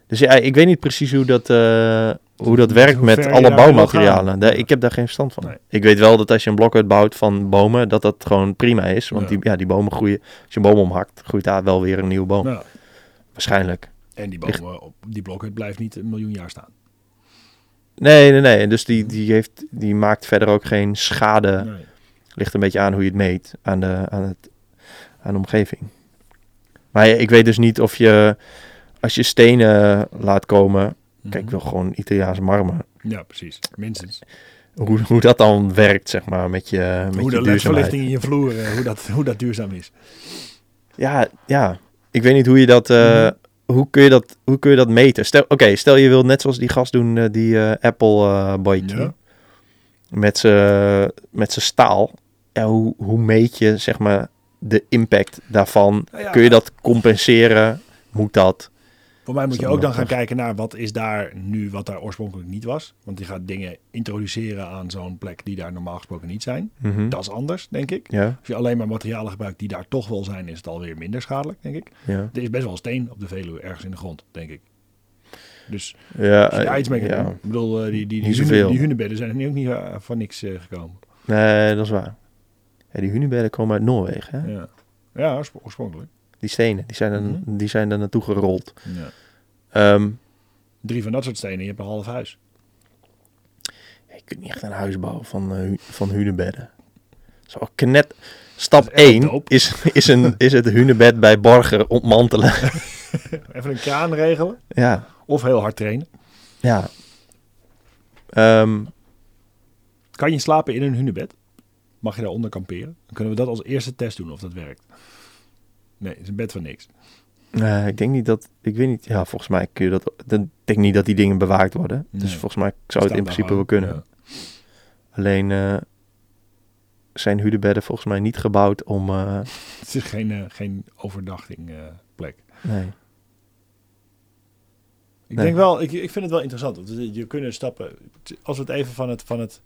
Dus ja, ik weet niet precies hoe dat, eh, hoe dat
Dus
werkt
hoe
met
ver je
alle
daar wil
bouwmaterialen.
gaan.
Daar- ik heb daar geen verstand van.
Nee.
Ik weet wel dat als je een blok uitbouwt van bomen, dat dat gewoon prima is. Want
Ja.
Die, ja, die bomen groeien. Als je een boom omhakt, groeit daar wel weer een nieuwe boom.
Nou,
Waarschijnlijk.
en die, bomen, op die blokken blijft niet een miljoen jaar staan.
Nee, nee, nee. Dus die, die, heeft, die maakt verder ook geen schade.
Nee.
Ligt een beetje aan hoe je het meet aan de, aan het, aan de omgeving. Maar ja, ik weet dus niet of je, als je stenen laat komen. Kijk,
Mhm.
ik wil gewoon Italiaanse marmer.
Ja, precies. Minstens.
Hoe, hoe dat dan werkt, zeg maar, met je, met
hoe
je
de
duurzaamheid.
ledverlichting in je vloer, eh, hoe dat, hoe dat duurzaam is.
Ja, ja. Ik weet niet hoe je dat. eh,
Mhm.
Hoe kun je dat, hoe kun je dat meten? Stel, Oké, stel je wilt net zoals die gast doen, eh, die eh, Apple eh boytje.
Ja.
Met zijn met z'n staal. Ja, hoe, hoe meet je, zeg maar, de impact daarvan?
Nou ja,
Kun je dat compenseren? Moet dat?
Voor mij moet
Is
je
dat
ook dan gaan
lastig?
kijken naar wat is daar nu, wat daar oorspronkelijk niet was. Want je gaat dingen introduceren aan zo'n plek die daar normaal gesproken niet zijn.
Mhm.
Dat is anders, denk ik.
Ja,
Als je alleen maar materialen gebruikt die daar toch wel zijn, is het alweer minder schadelijk, denk ik.
ja.
Er is best wel steen op de Veluwe ergens in de grond, denk ik. Dus
Ja,
als je daar iets mee kan
Eh, ja.
doen. Ik bedoel, eh, die, die, die,
Niet
hunebedden
zoveel.
die hunebedden zijn er ook niet eh, van niks eh, gekomen.
Nee, dat is waar. Ja, die hunebedden komen uit Noorwegen. Hè?
Ja, ja oorsp- oorspronkelijk.
Die stenen, die zijn, er,
Mhm.
die zijn er naartoe gerold.
Ja.
Ehm,
Drie van dat soort stenen, je hebt een half huis.
Je kunt niet echt een huis bouwen van, eh, hu- van hunebedden. Zo, knet. Stap
Dat is echt
1
dope.
is, is, een, is het hunebed bij Borger ontmantelen.
Even een kraan regelen
ja,
of heel hard trainen.
ja. Ehm,
Kan je slapen in een hunebed? Mag je daaronder kamperen? Dan kunnen we dat als eerste test doen of dat werkt. Nee, het is een bed van niks.
eh, ik denk niet dat. Ik weet niet. Ja, volgens mij kun je dat. dan- Ik denk niet dat die dingen bewaakt worden. Dus
Nee.
volgens mij zou het in principe wel kunnen. Alleen eh, zijn hunebedden volgens mij niet gebouwd om. eh,
Het is geen, eh, geen overnachting eh, plek.
nee.
Ik
Nee.
denk wel, ik, ik vind het wel interessant. Want je- je kunnen stappen. Als we het even van het. Van het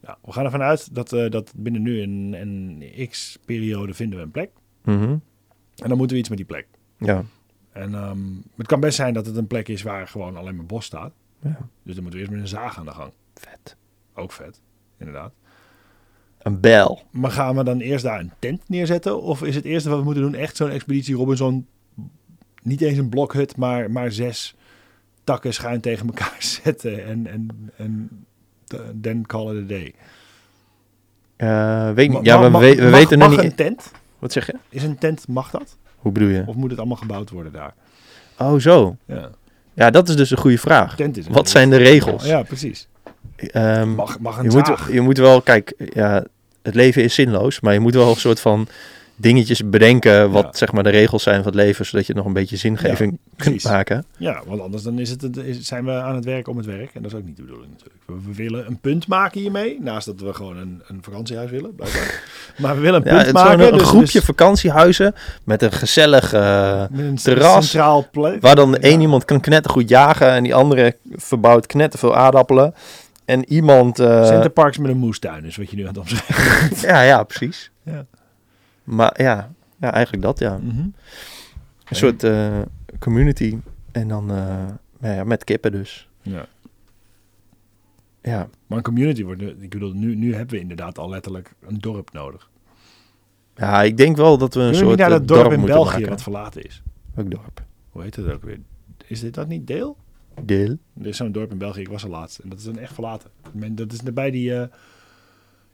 ja, we gaan ervan uit dat, eh, dat binnen nu een, een x-periode vinden we een plek.
Mhm.
En dan moeten we iets met die plek.
Ja.
En ehm, het kan best zijn dat het een plek is waar gewoon alleen maar bos staat.
ja.
Dus dan moeten we eerst met een zaag aan de gang.
Vet.
Ook vet, inderdaad.
Een bel.
Maar gaan we dan eerst daar een tent neerzetten? Of is het eerste wat we moeten doen echt zo'n expeditie Robinson? Niet eens een blokhut, maar, maar zes takken schuin tegen elkaar zetten. En, en, en then call it a day.
Eh, weet ik niet.
Ma-
Ja,
ma-
maar we,
mag-
we- we
mag-
weten
mag
nog
een
niet.
tent?
Wat zeg je?
Is een tent, mag dat?
Hoe bedoel je?
Of moet het allemaal gebouwd worden daar?
Oh, zo.
Ja,
Ja, dat is dus een goede vraag.
tent is
Wat zijn de regels?
Ja, precies.
Ehm,
Mag, mag
je,
een zaag?
moet, je moet wel, kijk, ja, het leven is zinloos, maar je moet wel een soort van dingetjes bedenken wat
Ja.
zeg maar de regels zijn van het leven, zodat je nog een beetje zingeving kunt
precies.
maken.
Ja, want anders dan is het, het- is- zijn we aan het werk om het werk. En dat is ook niet de bedoeling natuurlijk. We, we willen een punt maken hiermee. Naast dat we gewoon een, een vakantiehuis willen, blijkbaar. maar we willen een
Ja,
punt
het is
maken.
gewoon een, een
dus-
groepje
dus
vakantiehuis met een gezellig, eh,
met een
terras,
centraal plek.
waar dan één
Ja.
iemand kan knettergoed jagen en die andere verbouwt knetterveel aardappelen. En iemand... eh,
Centerparks met een moestuin is wat je nu aan het omschrijven
ja, ja, precies.
Ja.
Maar ja, ja, eigenlijk dat, ja.
Mhm.
Een soort eh, community. En dan eh, nou ja, met kippen dus.
ja.
Ja,
Maar een community wordt... nu- Ik bedoel, nu, nu hebben we inderdaad al letterlijk een dorp nodig.
ja ik denk wel dat we een
Kunnen we
soort
niet naar
eh,
dat dorp, in
moeten
België
maken.
wat verlaten is?
Welk dorp?
Hoe heet dat ook weer? Is dit dat niet deel?
Deel.
Er is zo'n dorp in België, ik was er laatst. En dat is dan echt verlaten. Men, dat is bij die... eh,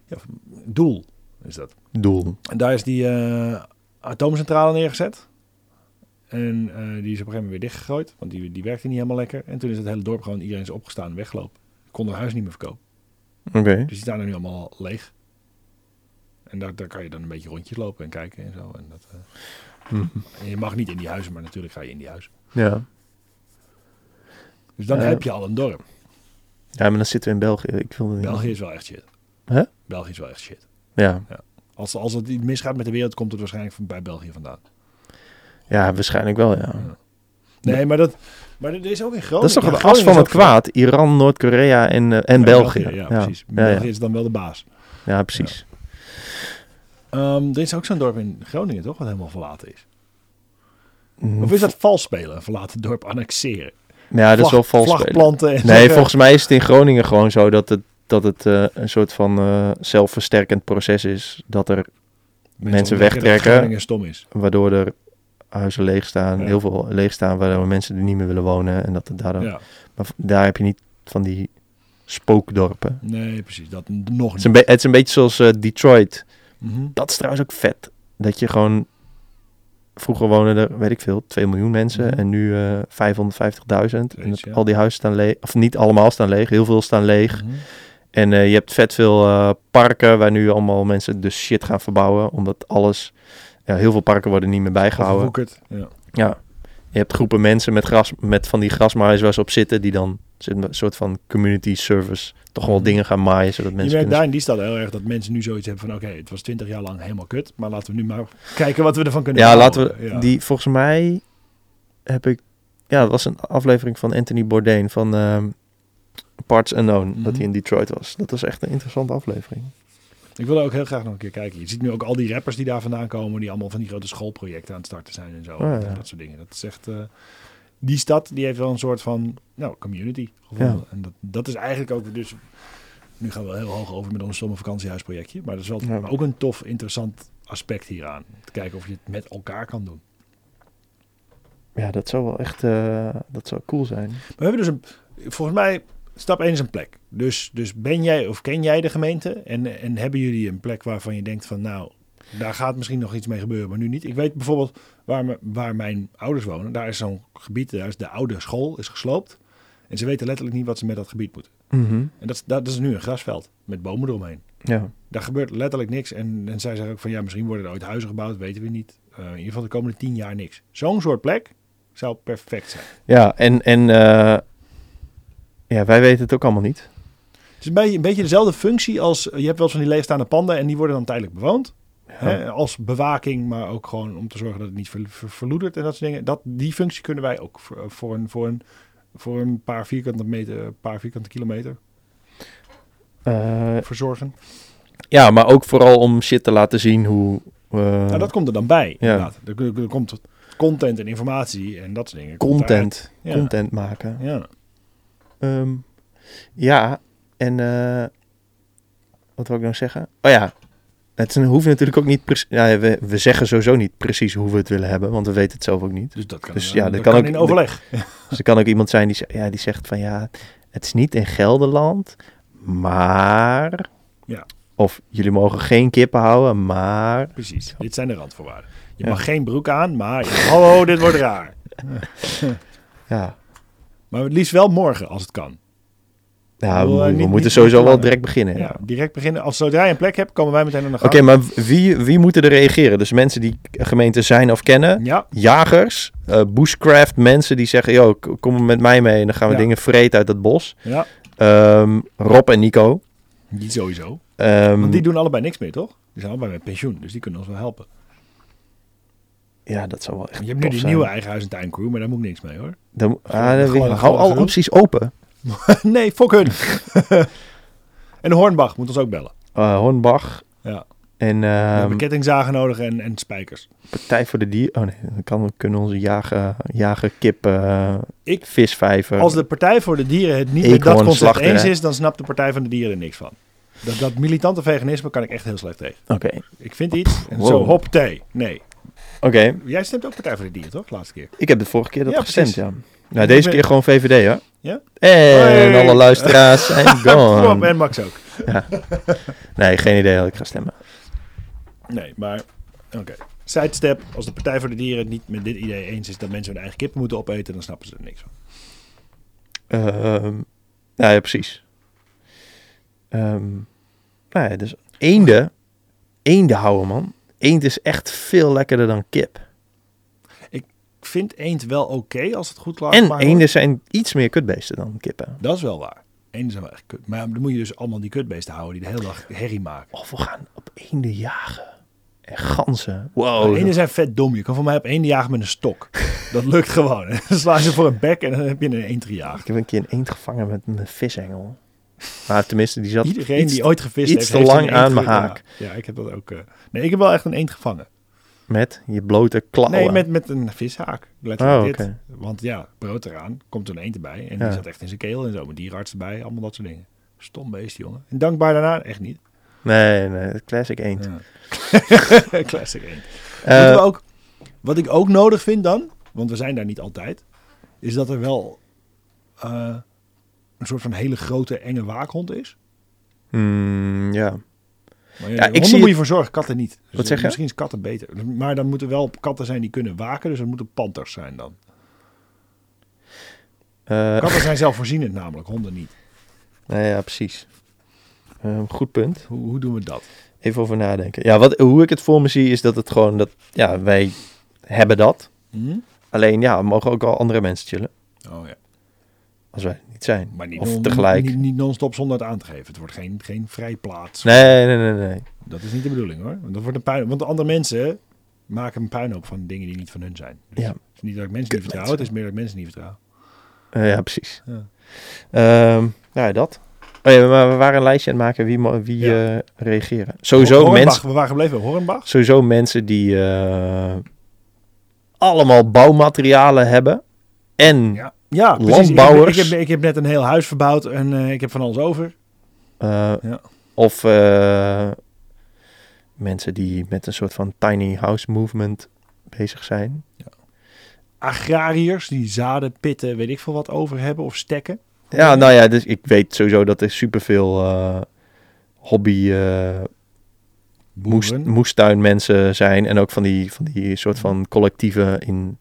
ja, doel is dat.
Doel.
En daar is die eh, atoomcentrale neergezet. En eh, die is op een gegeven moment weer dichtgegooid. Want die, die werkte niet helemaal lekker. En toen is het hele dorp gewoon iedereen is opgestaan en weggelopen. Kon hun huis niet meer verkopen.
Oké.
Dus die staan er nu allemaal leeg. En daar, daar kan je dan een beetje rondjes lopen en kijken en zo. En dat, eh,
Mhm.
en je mag niet in die huizen, maar natuurlijk ga je in die huizen.
Ja.
Dus dan
Eh.
heb je al een dorp.
ja, maar dan zitten we in België. Ik wil het
België
niet.
is wel echt shit.
Hè?
België is wel echt shit.
Ja.
Als, als het iets misgaat met de wereld, komt het waarschijnlijk van, bij België vandaan.
ja, waarschijnlijk wel, ja.
Nee, maar dat, maar er is ook in Groningen.
dat is toch
Ja,
het as
Groningen
van
is
het
ook verlaten.
kwaad? Iran, Noord-Korea en, eh, en
Ja,
België.
Ja,
ja.
precies.
Ja,
België
ja.
is dan wel de baas.
Ja, precies.
Ehm, er is ook zo'n dorp in Groningen, toch? Wat helemaal verlaten is.
Mm,
Of is dat vals spelen? Een verlaten dorp annexeren?
Nou ja, dat is wel
vlag,
vals spelen.
vlagplanten. en
Nee,
zeggen-
volgens mij is het in Groningen gewoon zo dat het, dat het eh, een soort van eh, zelfversterkend proces is. Dat er, mensen
ontdekken dat
wegtrekken.
Groningen stom is.
waardoor er huizen leeg staan,
Ja.
heel veel leeg staan, waardoor mensen er niet meer willen wonen. En dat het daar dan,
Ja,
Maar v- daar heb je niet van die spookdorpen.
nee, precies. Dat n- nog
Het
niet.
is een, be- het is een beetje zoals eh, Detroit.
Mhm.
Dat is trouwens ook vet. Dat je gewoon... Vroeger wonen er, weet ik veel, 2 miljoen mensen.
Mhm.
En nu eh 550.000. En
Zoiets,
dat
ja.
al die huizen staan leeg. Of niet allemaal staan leeg. Heel veel staan leeg.
Mhm.
En eh, je hebt vet veel eh, parken waar nu allemaal mensen de shit gaan verbouwen. Omdat alles... Ja, heel veel parken worden niet meer bijgehouden.
Overwoekerd. Ja.
Ja. Je hebt groepen mensen met, gras, met van die grasmaaiers waar ze op zitten. Die dan een soort van community service toch wel
Mhm.
dingen gaan maaien. Zodat mensen
Je merkt
kunnen-
daar in die stad heel erg dat mensen nu zoiets hebben van... oké, het was twintig jaar lang helemaal kut... maar laten we nu maar kijken wat we ervan kunnen
Ja,
bouwen.
laten we...
Ja.
Die, volgens mij heb ik... Ja, dat was een aflevering van Anthony Bourdain van ehm, Parts Unknown.
Mhm.
Dat hij in Detroit was. Dat was echt een interessante aflevering.
Ik wil er ook heel graag nog een keer kijken. Je ziet nu ook al die rappers die daar vandaan komen, die allemaal van die grote schoolprojecten aan het starten zijn en zo.
Ah, ja.
Dat soort dingen. Dat is echt. eh, die stad die heeft wel een soort van nou, community gevonden.
Ja.
En dat, dat is eigenlijk ook dus. Nu gaan we wel heel hoog over met ons zomervakantiehuisprojectje. Maar dat is wel
Ja.
ook een tof, interessant aspect hieraan. Te kijken of je het met elkaar kan doen.
Ja, dat zou wel echt... eh, dat zou cool zijn.
Maar we hebben dus een. Volgens mij, stap 1 is een plek. Dus, dus ben jij of ken jij de gemeente? En, en hebben jullie een plek waarvan je denkt van nou, daar gaat misschien nog iets mee gebeuren, maar nu niet. Ik weet bijvoorbeeld waar, me- waar mijn ouders wonen. Daar is zo'n gebied, daar is de oude school is gesloopt. En ze weten letterlijk niet wat ze met dat gebied moeten. En dat, is- dat is nu een grasveld met bomen eromheen.
Ja.
Daar gebeurt letterlijk niks. En, en zij zeggen ook van ja, misschien worden er ooit huizen gebouwd, weten we niet. Eh, in ieder geval de komende tien jaar niks. Zo'n soort plek zou perfect zijn.
Ja, en... en eh, ja, wij weten het ook allemaal niet.
Het is een beetje, een beetje dezelfde functie als... Je hebt wel eens van die leegstaande panden en die worden dan tijdelijk bewoond. Hè, als bewaking, maar ook gewoon om te zorgen dat het niet ver, ver- verloedert en dat soort dingen. Dat, die functie kunnen wij ook voor, voor, een, voor, een, voor een paar vierkante, meter, paar vierkante kilometer
Eh,
verzorgen.
Ja, maar ook vooral om shit te laten zien hoe... eh,
nou, dat komt er dan bij,
ja.
inderdaad. Er, er- er komt content en informatie en dat soort dingen. Komt
content,
Ja.
content maken.
daaruit. Ja.
Ehm, ja, en eh, wat wil ik nou zeggen? Oh ja, het is- hoeft natuurlijk ook niet precies... Ja, we, we zeggen sowieso niet precies hoe we het willen hebben, want we weten het zelf ook niet.
Dus dat kan,
Dus
eh,
ja,
dat
dat
kan,
kan ook-
in overleg.
Dus er kan ook iemand zijn die, ze- ja, die zegt van ja, het is niet in Gelderland, maar...
Ja.
Of jullie mogen geen kippen houden, maar...
Precies, dit zijn de randvoorwaarden. Je
Ja.
mag geen broek aan, maar... Hallo, dit wordt raar.
Ja,
Maar het liefst wel morgen, als het kan.
ja
Ik
we,
wil, eh,
we
niet-
moeten
niet- niet
sowieso wel
plannen.
direct beginnen.
Ja,
ja.
direct beginnen. Als zodra je een plek hebt, komen wij meteen aan de
Oké,
gang.
maar wie, wie moeten er reageren? Dus mensen die gemeenten zijn of kennen.
Ja,
Jagers, eh, bushcraft, mensen die zeggen... Yo, k- kom met mij mee en dan gaan we
Ja.
dingen vreten uit dat bos.
ja.
Ehm, Rob en Nico.
Niet sowieso.
Ehm,
Want die doen allebei niks meer, toch? Die zijn allebei met pensioen, dus die kunnen ons wel helpen.
Ja, dat zou wel echt
Je hebt nu
tof
die
zijn.
nieuwe eigen huis en tuin crew, maar daar moet ik niks mee hoor.
Dan, ah,
Gewoon-
dan weet-
gewoon-
hou
gewoon
alle
genoeg.
opties open.
nee, fuck hun. en Hornbach moet ons ook bellen.
Eh, Hornbach
Ja.
en
We
ehm,
hebben kettingzagen nodig en, en spijkers.
Partij voor de Dier. Oh nee, dan kan, kunnen onze jager, jagerkip, eh,
Ik-
visvijver...
Als de Partij voor de Dieren het niet met dat concept
Eekhoornslachterij.
eens is, dan snapt de Partij van de Dieren er niks van. Dat, dat militante veganisme kan ik echt heel slecht tegen.
Oké,
Ik vind iets en
Wow.
zo hop thee. Nee.
oké.
Jij stemt ook Partij voor de Dieren, toch? Laatste keer.
Ik heb de vorige keer dat
Ja,
gestemd,
precies.
ja. Nou, deze
ben-
keer gewoon VVD, hoor.
Ja?
En
Hey.
alle luisteraars zijn
Rob
gone.
en Max ook.
Nee, geen idee dat ik ga stemmen.
Nee, maar oké. Sidestep, als de Partij voor de Dieren het niet met dit idee eens is dat mensen hun eigen kippen moeten opeten, dan snappen ze er niks van.
Ehm nou ja, precies. Ehm nou ja, dus eenden. Eenden houden, man. Eend is echt veel lekkerder dan kip.
Ik vind eend wel oké als het goed klaar
En
maar
eenden zijn iets meer kutbeesten dan kippen.
Dat is wel waar. Eenden zijn wel echt kut. Maar dan moet je dus allemaal die kutbeesten houden die de hele dag herrie maken.
Of we gaan op eenden jagen. En ganzen.
Maar
Wow.
eenden zijn vet dom. Je kan voor mij op eenden jagen met een stok. Dat lukt gewoon. En dan slaan ze voor een bek en dan heb je een eend gejaagd.
Ik heb een keer een eend gevangen met mijn vishengel. Maar tenminste, die zat
Iedereen
iets-
die ooit gevist
iets
heeft,
te
heeft
lang
een eend
aan mijn
ge- ja.
haak.
Ja, ik heb dat ook. eh. Nee, ik heb wel echt een eend gevangen.
Met je blote klauwen.
Nee, met, met een vishaak. Letterlijk
Oh,
dit.
oké.
Want ja, brood eraan, komt een eend erbij. En
Ja.
die zat echt in zijn keel en zo. Met dierenarts erbij, allemaal dat soort dingen. Stom beest, jongen. En dankbaar daarna, echt niet.
Nee, nee, het classic eend.
Ja. Classic eend.
Eh,
Moeten we ook, wat ik ook nodig vind dan, want we zijn daar niet altijd, is dat er wel eh, een soort van hele grote enge waakhond is.
mm, ja.
Maar ja,
Ja, ik
honden
zie
moet
het-
je voor zorgen, katten niet. Dus
Wat zeg je?
Misschien is katten beter. Maar dan moeten wel katten zijn die kunnen waken, dus dat moeten panters zijn dan.
Eh,
Katten zijn zelfvoorzienend namelijk, honden niet.
nou ja, precies. Eh, goed punt.
Hoe, hoe doen we dat?
Even over nadenken. Ja, wat, hoe ik het voor me zie is dat het gewoon dat... Ja, wij hebben dat.
Hm?
Alleen ja, we mogen ook al andere mensen chillen.
Oh ja.
Als wij het niet zijn.
Maar niet,
of
non,
tegelijk.
niet, niet non-stop zonder het aan te geven. Het wordt geen, geen vrijplaats.
Nee, nee, nee, nee.
Dat is niet de bedoeling hoor. Want, dat wordt een puin, want de andere mensen maken een puinhoop van dingen die niet van hun zijn. Dus
Ja.
Het is niet dat ik mensen niet
Kut
vertrouw, het is meer dat ik mensen niet vertrouw.
Eh, ja, precies.
Ja.
Ehm, nou ja, dat. Oh ja, maar we waren een lijstje aan het maken wie, mo- wie
Ja.
eh, reageren. Sowieso,
Hornbach,
mensen,
We waren gebleven Hornbach.
sowieso mensen die eh, allemaal bouwmaterialen hebben. En
Ja, ja precies.
Landbouwers.
Ik heb, ik, heb, ik heb net een heel huis verbouwd en eh, ik heb van alles over.
eh,
Ja.
of eh, mensen die met een soort van tiny house movement bezig zijn.
Agrariërs die zaden, pitten, weet ik veel wat over hebben of stekken.
Ja, nou ja, dus ik weet sowieso dat er superveel eh hobby eh moest,
Boeren.
moestuinmensen zijn. En ook van die, van die soort van collectieven in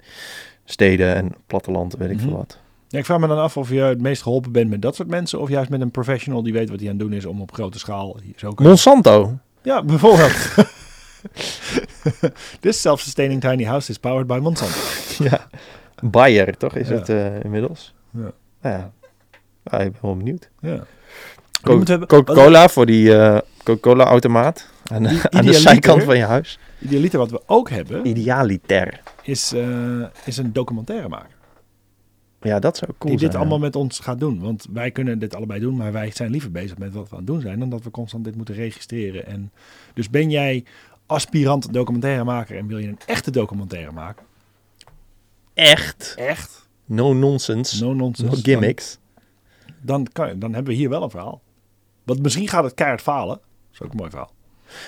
steden en platteland, weet ik
Mhm.
veel wat.
Ja, ik vraag me dan af of je het meest geholpen bent met dat soort mensen of juist met een professional die weet wat hij aan het doen is om op grote schaal hier zo kunnen-
Monsanto.
Ja, bijvoorbeeld. This self-sustaining tiny house is powered by Monsanto.
ja. Bayer, toch? Is
Ja.
het eh, inmiddels?
Ja.
Nou ja. Ah, ik ben wel benieuwd.
Ja.
Co-
moeten hebben-
Coca-Cola voor die eh, Coca-Cola-automaat. Aan, de-
I-
aan de
idealiter.
zijkant van je huis.
Idealiter wat we ook hebben,
Idealiter.
is, eh, is een documentaire maken.
Ja, dat zou cool
die dit
zijn.
allemaal met ons gaat doen. Want wij kunnen dit allebei doen, maar wij zijn liever bezig met wat we aan het doen zijn... dan dat we constant dit moeten registreren. En dus ben jij aspirant documentairemaker en wil je een echte documentaire maken?
Echt.
Echt?
No nonsense.
No
No
nonsense.
gimmicks.
Dan, dan, kan, dan hebben we hier wel een verhaal. Want misschien gaat het keihard falen. Dat is ook een mooi verhaal.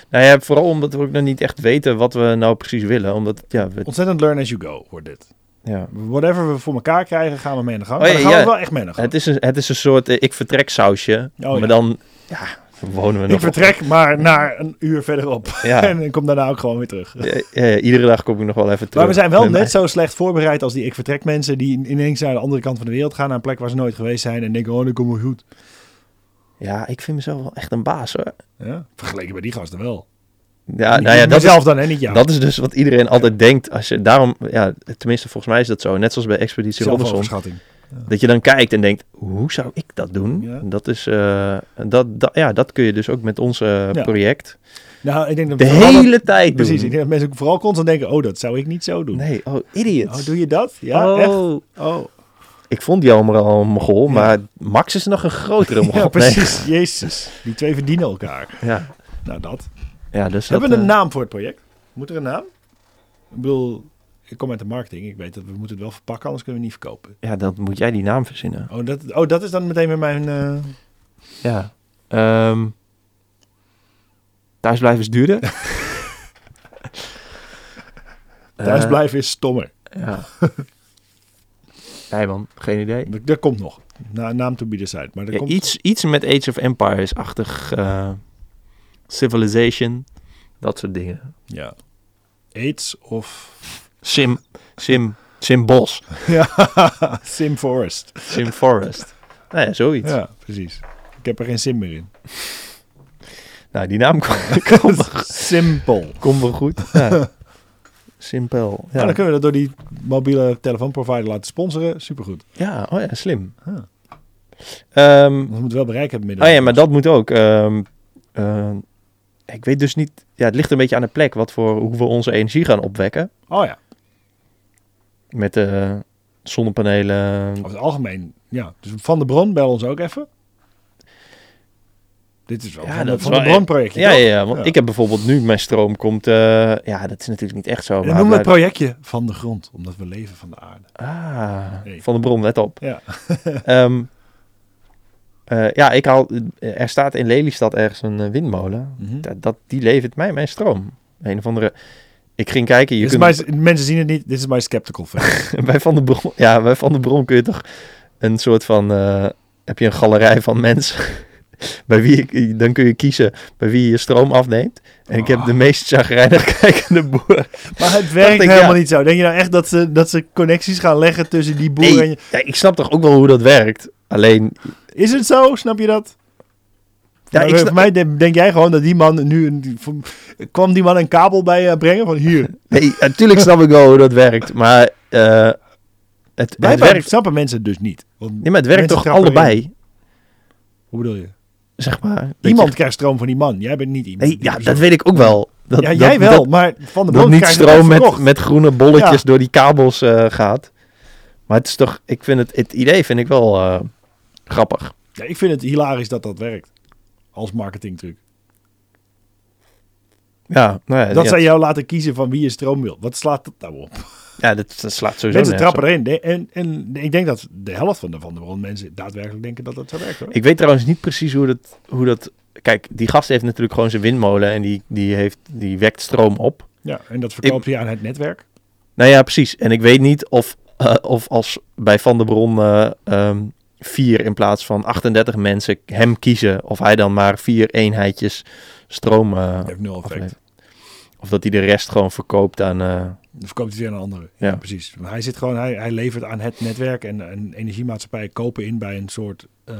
Nou ja, vooral omdat we ook nog niet echt weten wat we nou precies willen. Omdat, ja, we,
Ontzettend learn as you go, wordt dit.
ja.
Whatever we voor elkaar krijgen, gaan we mee aan de gang.
Oh,
Maar dan
ja,
gaan we
ja.
wel echt mee aan de gang.
Het is een, het is een soort eh, ik vertrek sausje.
Oh, ja.
maar dan ja, dan wonen we
ik
nog.
vertrek maar naar een uur verderop.
Ja.
en ik kom daarna ook gewoon weer terug.
Eh, eh, iedere dag kom ik nog wel even terug.
maar we zijn wel
met
net
mijn-
zo slecht voorbereid als die ik vertrek mensen... die ineens naar de andere kant van de wereld gaan... naar een plek waar ze nooit geweest zijn... en denken, oh, dat komt wel goed.
Ja, ik vind mezelf wel echt een baas hoor.
Ja? Vergeleken bij die gasten wel.
Ja, nou ja, dat is,
Mezelf dan en niet jou.
dat is dus wat iedereen altijd denkt. Als je daarom, ja, tenminste volgens mij is dat zo. Net zoals bij Expeditie Robinson.
Zelfoverschatting.
Dat je dan kijkt en denkt, hoe zou ik dat doen?
Ja.
Dat, is, eh, dat, dat, ja, dat kun je dus ook met ons eh,
Ja.
project
Nou, ik denk dat
de
vooral
hele
dat-
tijd doen.
Precies, ik denk dat mensen ook vooral constant denken... oh, dat zou ik niet zo doen.
Nee, oh, idiot.
Oh, doe je dat? Ja,
Oh.
echt? Oh,
Ik vond jou maar al een mogol,
Ja.
maar Max is nog een grotere mogol.
ja,
Nee.
precies. Jezus, die twee verdienen elkaar.
Ja.
Nou, dat.
Ja, dus
Hebben we
dat,
een
eh,
naam voor het project? Moet er een naam? Ik bedoel, ik kom uit de marketing. Ik weet dat we moeten het wel verpakken, anders kunnen we het niet verkopen.
Ja, dan moet jij die naam verzinnen.
Oh, dat, oh, dat is dan meteen weer mijn... eh,
Ja. Ehm thuisblijven is duurder. Eh,
thuisblijven is stommer.
ja. Nee man, geen idee.
Dat, dat komt nog. Na, naam to be decided. Maar dat
Ja,
komt...
iets, iets met Age of Empires-achtig. eh, civilization. Dat soort dingen.
Ja. AIDS of...
Sim. Sim. Sim Bos.
ja, Sim Forest.
Sim Forest. nou ja, zoiets.
Ja, precies. Ik heb er geen sim meer in.
Nou, die naam komt kom,
Simpel.
kom wel goed. Ja. Simpel.
Nou,
Ja.
dan kunnen we dat door die mobiele telefoonprovider laten sponsoren. Supergoed.
ja, oh ja, slim.
Huh.
Ehm,
We moeten wel bereik hebben midden.
Oh ja, maar dat moet ook. Ehm, ehm, ik weet dus niet. Ja, het ligt een beetje aan de plek wat voor hoe we onze energie gaan opwekken.
Oh ja.
Met eh, zonnepanelen.
Oh, Over het algemeen, ja. Dus van de bron, bel ons ook even. Dit is wel
Ja,
van,
dat
dat
is
van
wel
een brandprojectje.
Ja,
toch?
ja, ja, want
Ja.
ik heb bijvoorbeeld nu mijn stroom komt. eh, ja, dat is natuurlijk niet echt zo.
We
Maar
noemen het
blijf-
projectje van de grond, omdat we leven van de aarde.
ah,
Nee.
van de bron, let op.
Ja.
Ehm, eh, ja, ik haal. Er staat in Lelystad ergens een eh, windmolen.
Hm? Mhm.
Dat, dat- die levert mij mijn stroom. Een of andere. Ik ging kijken. Je
Dit is
kunt,
my- mensen zien het niet, dit is mijn skeptical face.
bij, van de bron, ja, bij Van de Bron kun je toch een soort van. eh, heb je een galerij van mensen. bij wie je- dan kun je kiezen bij wie je je stroom afneemt. En ik heb de meest chagrijnig kijkende boer.
maar het werkt
ik, ja.
helemaal niet zo. Denk je nou echt dat ze, dat ze connecties gaan leggen tussen die boer
Nee,
en je...
ja, ik snap toch ook wel hoe dat werkt. Alleen,
Is het zo? Snap je dat?
ja,
Ja,
ik snap,
Voor mij de- denk jij gewoon dat die man nu... Een, voor- kwam die man een kabel bij eh, brengen? Van hier,
nee, natuurlijk snap ik wel hoe dat werkt. Maar eh, het,
Wij
het werkt,
snappen mensen het dus niet. Want,
nee, maar het werkt
mensen
toch
trappen
allebei,
Hoe bedoel je?
zeg maar. dat je-
Iemand krijgt stroom van die man. Jij bent niet iemand.
nee,
die
ja,
persoon.
dat weet ik ook wel. Dat,
ja,
dat-
jij wel,
dat-
maar Van de
dat
Bron
niet
krijgt het
stroom met,
verkocht.
met groene bolletjes
Ja.
door die kabels eh, gaat. Maar het is toch, ik vind het, het idee vind ik wel eh, grappig.
Ja, ik vind het hilarisch dat dat werkt. Als marketingtruc.
Ja, nou ja,
Dat
ja,
zij jou laten kiezen van wie je stroom wil. Wat slaat dat nou op?
ja, dat, dat slaat sowieso
mensen
nergens op.
trappen erin. De- En, en ik denk dat de helft van de Van de Bron mensen daadwerkelijk denken dat dat zo werkt. Hoor.
Ik weet trouwens niet precies hoe dat, hoe dat... Kijk, die gast heeft natuurlijk gewoon zijn windmolen en die, die, heeft, die wekt stroom op.
ja, en dat verkoopt je aan het netwerk.
Nou ja, precies. En ik weet niet of, eh, of als bij Van der Bron eh, ehm, vier in plaats van 38 mensen hem kiezen... of hij dan maar vier eenheidjes stroom eh,
Dat heeft nul effect.
aflevert. Of dat hij de rest gewoon verkoopt aan... eh,
Dan verkoopt hij weer aan een andere.
Ja.
Ja, precies. Maar hij, zit gewoon, hij, hij levert aan het netwerk en, en energiemaatschappijen kopen in bij een soort eh,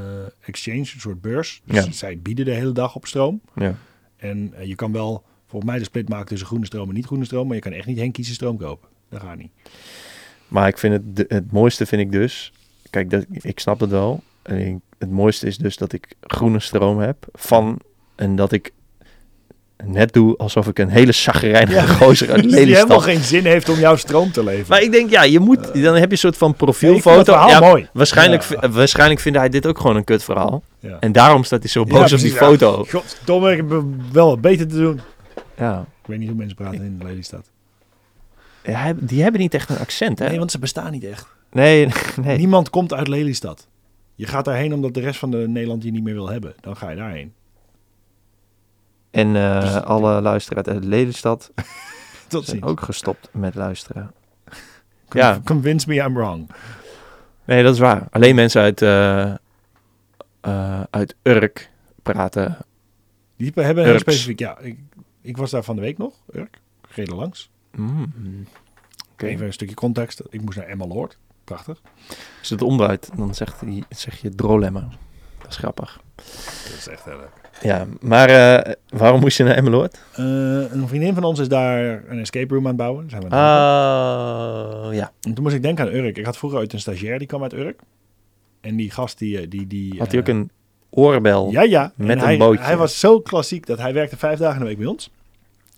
exchange, een soort beurs. Dus
Ja.
zij bieden de hele dag op stroom.
ja.
En eh, je kan wel volgens mij de split maken tussen groene stroom en niet groene stroom. Maar je kan echt niet heen kiezen stroom kopen. Dat gaat niet.
Maar ik vind het, de- het mooiste vind ik dus... Kijk, dat, ik snap het wel. En ik- het mooiste is dus dat ik groene stroom heb van... En dat ik net doe alsof ik een hele chagrijnige
Ja.
gozer uit
Dus die helemaal
Lelystad...
geen zin heeft om jouw stroom te leveren.
Maar ik denk, ja, je moet... Dan heb je een soort van
vind
profielfoto.
dat verhaal
Ja,
mooi.
Waarschijnlijk,
Ja.
vi- eh, waarschijnlijk vindt hij dit ook gewoon een kut verhaal.
Ja.
En daarom staat hij zo
Ja,
boos op die
precies,
foto.
Ja. Goddomme, ik heb wel wat beter te doen.
Ja.
Ik weet niet hoe mensen praten in Lelystad.
Ja, hij- die hebben niet echt een accent, hè?
Nee, want ze bestaan niet echt.
nee, nee.
Niemand komt uit Lelystad. Je gaat daarheen omdat de rest van de Nederland je niet meer wil hebben. Dan ga je daarheen.
En eh,
Dus-
alle luisteraars uit Lelystad
Tot
zijn
ziens.
ook gestopt met luisteren.
Con-
ja.
Convince me I'm wrong.
Nee, dat is waar. Alleen mensen uit, eh, eh, uit Urk praten.
Die hebben heel
Urks.
specifiek... Ja, ik, ik was daar van de week nog, Urk. Ik reed er langs.
Mm. Oké.
Even een stukje context. Ik moest naar Emmeloord. Prachtig.
Als je het omdraait, dan zegt hij, zeg je drolema. Dat is grappig.
Dat is echt heel leuk.
Ja, maar eh, waarom moest je naar Emmeloord?
Eh, een vriendin van ons is daar een escape room aan het bouwen. Zijn we aan het helpen.
Ah, ja.
En toen moest ik denken aan Urk. Ik had vroeger uit een stagiair, die kwam uit Urk. En die gast die... eh, die, die
Had hij ook
eh,
een oorbel?
Ja, ja. En
met een
hij,
bootje.
Hij was zo klassiek dat hij werkte vijf dagen in de week bij ons.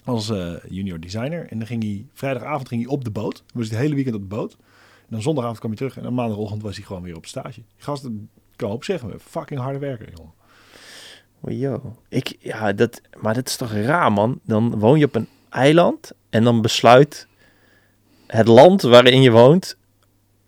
Als eh, junior designer. En dan ging hij, vrijdagavond ging hij op de boot. Dan was hij het hele weekend op de boot. En dan zondagavond kwam hij terug. En dan maandagochtend was hij gewoon weer op stage. Die Gast, ik kan op zeggen, fucking harde werker, jongen.
Yo. Ik, ja, dat, maar dat is toch raar, man? Dan woon je op een eiland en dan besluit het land waarin je woont...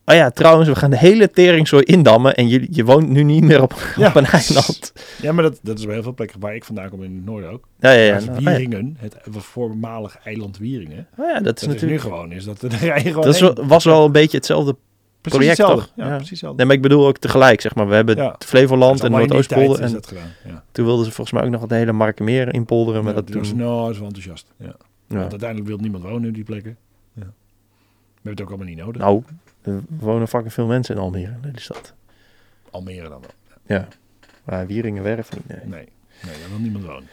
Oh ja, trouwens, we gaan de hele teringzooi indammen en je, je woont nu niet meer op,
Ja.
op een eiland.
Ja, maar dat, dat is bij heel veel plekken waar ik vandaan kom in het noorden ook.
Ja, ja, ja.
Daar is
Nou, ja.
Wieringen, het voormalig eiland Wieringen.
Oh ja, dat is
Dat is nu
natuurlijk...
gewoon is dat er rijden gewoon
dat is,
heen.
wel- was wel een beetje hetzelfde.
precies
project,
hetzelfde.
toch?
Ja,
Ja.
precies hetzelfde.
Nee, maar ik bedoel ook tegelijk, zeg maar. We hebben
Ja.
het Flevoland
Dat
en
is allemaal in die
Noordoostpolder.
tijd
En
is dat gedaan. Ja.
toen wilden ze volgens mij ook nog het hele Markenmeer inpolderen. Maar
Ja, nou-
dat
toen was
toen...
nou, is wel enthousiast. Ja.
ja.
Want uiteindelijk wil niemand wonen op die plekken. Ja. We hebben het ook allemaal niet nodig.
Nou, er wonen fucking veel mensen in Almere, in de stad.
Almere dan wel.
Ja. Maar Wieringenwerf niet, nee.
Nee. nee, daar wil niemand wonen.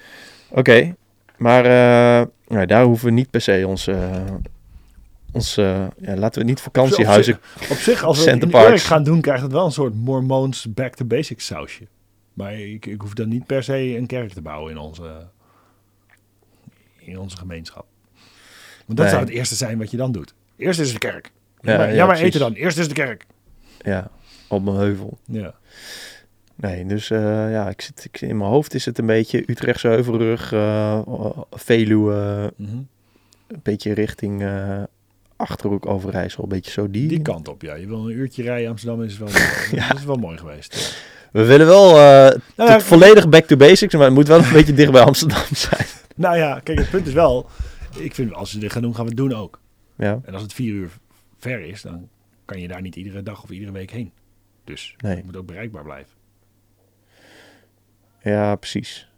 Oké, maar eh, nou, daar hoeven we niet per se ons... eh, ons eh, ja, laten we niet vakantiehuizen...
Op zich, als we het in
Center Parks.
Urk gaan doen, krijgt het wel een soort Mormoons back to basics sausje. Maar ik, ik hoef dan niet per se een kerk te bouwen in onze, in onze gemeenschap. Want dat
Nee.
zou het eerste zijn wat je dan doet. Eerst is de kerk.
Ja,
Ja, maar,
ja,
ja, maar
precies.
eten dan. Eerst is de kerk.
Ja, op een heuvel.
Ja.
Nee, dus eh, ja, ik zit, ik, in mijn hoofd is het een beetje Utrechtse Heuvelrug, eh, Veluwe,
Mhm.
een beetje richting eh, Achterhoek Overijssel, een beetje zo die.
Die kant op, ja. Je wil een uurtje rijden, Amsterdam is wel, dat is wel mooi geweest. ja.
We willen wel eh,
Nou, ja,
tot volledig back to basics, maar het moet wel een beetje dicht bij Amsterdam zijn.
nou ja, kijk, het punt is wel, ik vind als we dit gaan doen, gaan we het doen ook.
Ja,
En als het vier uur ver is, dan kan je daar niet iedere dag of iedere week heen. Dus
nee,
het moet ook bereikbaar blijven.
ja precies.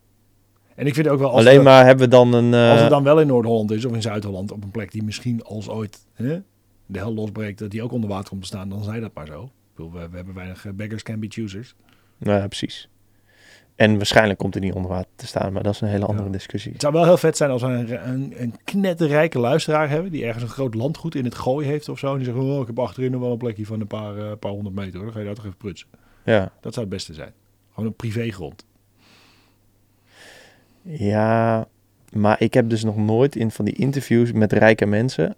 En ik vind ook wel, als,
Alleen
we-
maar hebben we dan een... eh,
als het dan wel in Noord-Holland is of in Zuid-Holland, op een plek die misschien als ooit hè, de hel losbreekt, dat die ook onder water komt te staan, dan zij dat maar zo. Ik bedoel, we, we hebben weinig eh, beggars can be choosers.
Nou ja, precies. En waarschijnlijk komt hij niet onder water te staan, maar dat is een hele andere discussie.
Het zou wel heel vet zijn als we een, een, een knetterrijke luisteraar hebben. die ergens een groot landgoed in het gooi heeft of zo. En die zegt: oh, Ik heb achterin nog wel een plekje van een paar, eh, paar honderd meter. Hoor. Dan ga je daar toch even prutsen.
Ja,
Dat zou het beste zijn. Gewoon een privégrond.
ja maar ik heb dus nog nooit in van die interviews met rijke mensen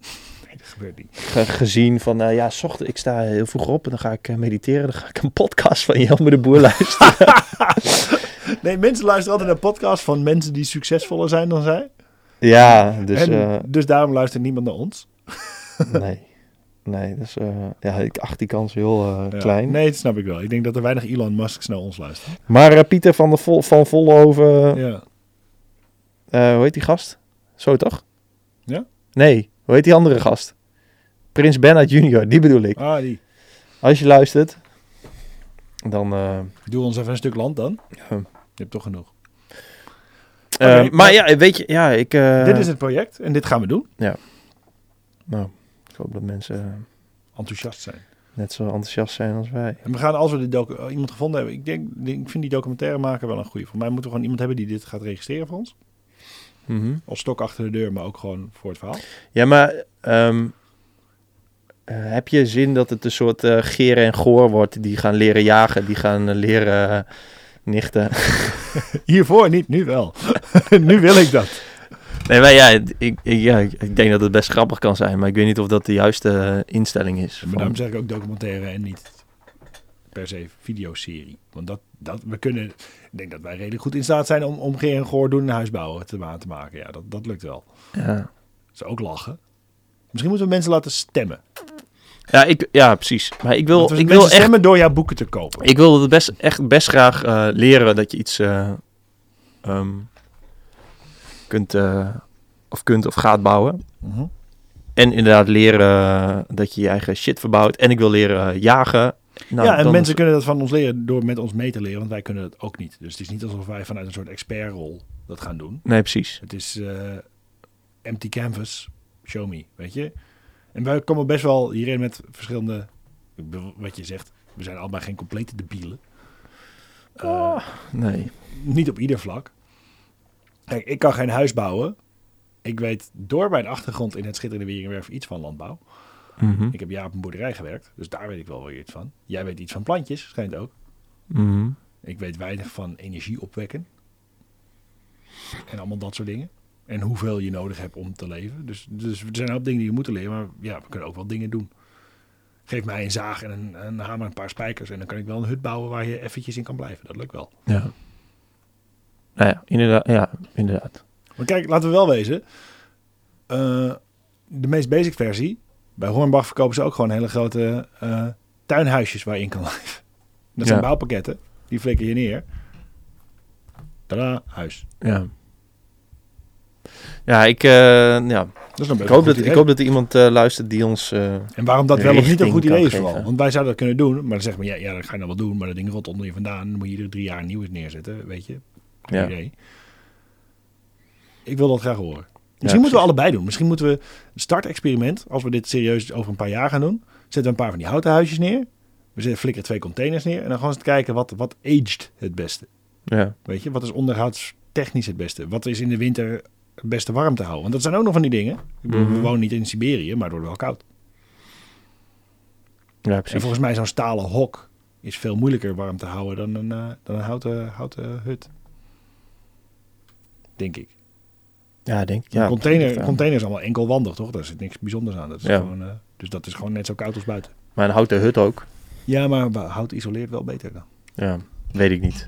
Nee, dat gebeurt niet.
ge- gezien van, nou ja, 's ochtend, ik sta heel vroeg op en dan ga ik eh, mediteren. Dan ga ik een podcast van Jelmer de Boer luisteren.
Nee, mensen luisteren altijd naar podcasts van mensen die succesvoller zijn dan zij.
ja, dus
en,
eh,
dus daarom luistert niemand naar ons.
nee. Nee, dus eh, ja, ik acht die kans heel eh,
Ja.
klein.
Nee, dat snap ik wel. Ik denk dat er weinig Elon Musk's naar ons luisteren.
Maar eh, Pieter van, de Vol van Vollenhoven,
Ja.
eh, hoe heet die gast? Zo toch?
Ja?
Nee, hoe heet die andere gast? Prins Bernhard Junior, die bedoel ik.
Ah, die.
Als je luistert, dan... eh,
Doe ons even een stuk land dan.
Ja.
Je hebt toch genoeg.
eh,
Oké,
maar ja, weet je, ja, ik... eh,
dit is het project en dit gaan we doen.
Ik hoop dat mensen eh,
Enthousiast zijn.
net zo enthousiast zijn als wij.
En we gaan, als we de docu- eh, iemand gevonden hebben, ik, denk, ik vind die documentaire maken wel een goede. Voor mij moeten we gewoon iemand hebben die dit gaat registreren voor ons.
Mhm.
Als stok achter de deur, maar ook gewoon voor het verhaal.
Ja, maar ehm, eh, heb je zin dat het een soort eh geren en goor wordt? Die gaan leren jagen, die gaan eh, leren eh, nichten.
Hiervoor niet, nu wel. nu wil ik dat.
Nee, maar ja, ik, ik, ja, ik- ik denk dat het best grappig kan zijn. Maar ik weet niet of dat de juiste eh, instelling is.
Maar
van-
daarom zeg ik ook documentaire en niet per se videoserie. Want dat, dat, we kunnen, ik denk dat wij redelijk goed in staat zijn om, om Geer en Goor doen een huisbouwen te, ma- te maken. Ja, dat, dat lukt wel.
ja.
Dat is ook lachen. Misschien moeten we mensen laten stemmen.
Ja, ik, ja, precies. Maar ik
Want
wil,
we-
ik wil
mensen
echt
stemmen door jouw boeken te kopen.
Ik wil het best, echt best graag eh, leren dat je iets eh, ehm, kunt, eh, of kunt of gaat bouwen.
Mhm.
En inderdaad leren eh, dat je je eigen shit verbouwt. En ik wil leren eh, jagen. Nou,
ja, en
dan-
mensen kunnen dat van ons leren door met ons mee te leren, want wij kunnen dat ook niet. Dus het is niet alsof wij vanuit een soort expertrol dat gaan doen.
Nee, precies.
Het is eh, empty canvas, show me, weet je. En wij komen best wel hierin met verschillende, ik bedoel, wat je zegt, we zijn allemaal geen complete debielen. Eh,
Nee.
Niet op ieder vlak. Kijk, ik kan geen huis bouwen. Ik weet door mijn achtergrond in het schitterende Wieringenwerf iets van landbouw.
Mhm.
Ik heb jaar op een boerderij gewerkt, dus daar weet ik wel weer iets van. Jij weet iets van plantjes, schijnt ook.
Mhm.
Ik weet weinig van energie opwekken. En allemaal dat soort dingen. En hoeveel je nodig hebt om te leven. Dus, dus er zijn een hoop dingen die we moeten leren. Maar ja, we kunnen ook wel dingen doen. Geef mij een zaag en een, een hamer en een paar spijkers. En dan kan ik wel een hut bouwen waar je eventjes in kan blijven. Dat lukt wel.
Ja. Nou ja, inderdaad. Ja, inderdaad.
Maar kijk, laten we wel wezen. eh, de meest basic versie. Bij Hornbach verkopen ze ook gewoon hele grote eh, tuinhuisjes waar je in kan leven. Dat zijn
Ja.
bouwpakketten. Die flikker je neer. Tada, huis.
Ja. Ja, ik, eh, ja.
Dat is nog best
ik,
een
hoop
goed
dat,
idee.
ik hoop dat er iemand eh, luistert die ons... eh,
En waarom dat wel of niet een
richting
goed
kan
idee is
geven.
vooral. Want wij zouden dat kunnen doen. Maar dan zeggen we, ja, ja dat ga je nou wel doen. Maar dat ding rot onder je vandaan. Dan moet je iedere drie jaar een nieuwe neerzetten. Weet je? Geen
Ja.
idee. Ik wil dat graag horen. Misschien moeten we allebei doen. Misschien moeten we een startexperiment. Als we dit serieus over een paar jaar gaan doen. Zetten we een paar van die houten huisjes neer. We zetten- flikkeren twee containers neer. En dan gaan we eens kijken wat, wat aged het beste.
Ja.
Weet je? Wat is onderhoudstechnisch het beste? Wat is in de winter het beste warm te houden? Want dat zijn ook nog van die dingen. Ik bedoel,
Mhm.
We wonen niet in Siberië, maar het wordt wel koud.
ja,
En
precies.
volgens mij zo'n stalen hok is veel moeilijker warm te houden dan een, eh, dan een houten, houten hut. Denk ik.
Ja, denk ik.
Ja,
Ja,
een container,
ligt aan.
container is allemaal enkelwandig, toch? Daar zit niks bijzonders aan. Dat is
Ja.
gewoon, eh, dus dat is gewoon net zo koud als buiten.
Maar een houten hut ook.
Ja, maar wa- hout isoleert wel beter dan.
Ja. Weet ik niet.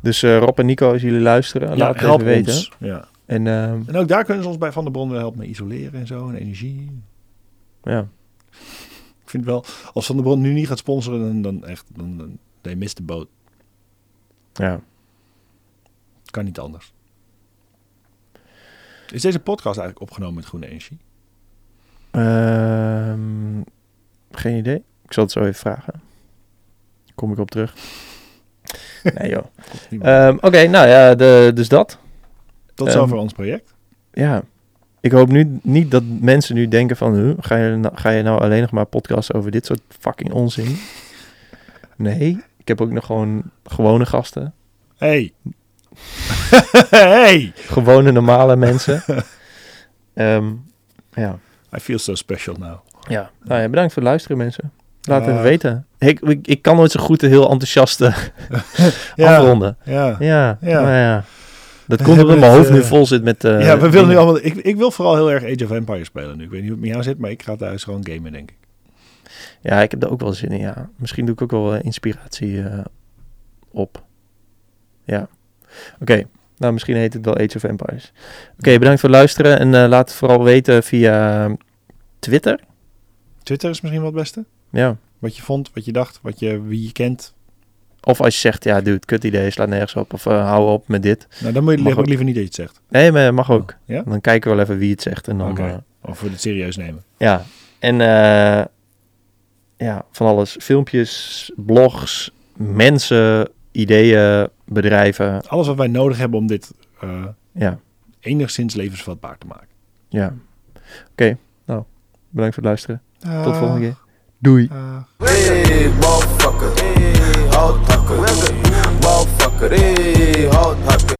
Dus eh, Rob en Nico, als jullie luisteren, Nou, laat het even weten.
Ja.
En ehm,
En ook daar kunnen ze ons bij Van der Bron wel helpen met isoleren en zo en energie.
ja,
Ik vind wel, als Van der Bron nu niet gaat sponsoren, dan, dan echt, dan, dan they missed the boat.
ja.
Kan niet anders. Is deze podcast eigenlijk opgenomen met groene energie?
Ehm, geen idee. Ik zal het zo even vragen. Kom ik op terug. Nee joh.
Kost niemand.
Ehm, Oké, nou ja, de, dus dat.
Tot zover
ehm,
ons project.
Ja. Ik hoop nu niet dat mensen nu denken van... "Huh, ga, je nou, ga je nou alleen nog maar podcasts over dit soort fucking onzin? Nee, ik heb ook nog gewoon gewone gasten.
Hey. hey.
Gewone normale mensen. Ehm, ja.
I feel so special now.
Ja. Nou ja, bedankt voor het luisteren mensen. Laat het even
Dag.
weten. Ik, ik, ik kan nooit zo goed de heel enthousiaste
Ja.
afronden.
Ja.
Ja,
Ja.
nou ja. Dat
We
komt omdat
hebben
mijn
het,
hoofd nu
eh,
vol zit met... eh,
ja, we willen nu
dingen.
allemaal. Ik, ik wil vooral heel erg Age of Empires spelen nu. Ik weet niet hoe het met jou zit, maar ik ga thuis gewoon gamen, denk ik.
Ja, ik heb daar ook wel zin in, ja. Misschien doe ik ook wel eh, inspiratie eh, op. Ja. Oké, nou misschien heet het wel Age of Empires. Oké, bedankt voor het luisteren. En eh, laat het vooral weten via ehm, Twitter.
Twitter is misschien wel het beste.
Ja.
Wat je vond, wat je dacht, wat je, wie je kent.
Of als je zegt, ja dude, kut idee, slaat nergens op. Of eh, hou op met dit.
Nou, dan moet je
Mag
liever ook
ook.
liever niet dat je het zegt.
Nee, maar mag ook.
Ja?
Dan kijken we wel even wie het zegt. En dan,
Oké.
eh,
Of we het serieus nemen.
Ja, en eh, ja, van alles. Filmpjes, blogs, mensen, ideeën, bedrijven.
Alles wat wij nodig hebben om dit eh,
Ja,
enigszins levensvatbaar te maken.
ja. Oké, nou, bedankt voor het luisteren. Tot de
Ah,
volgende keer. Doei.
Dag.
Hey, motherfucker. Hey, hot tucker. Motherfucker. Hey, hot tucker.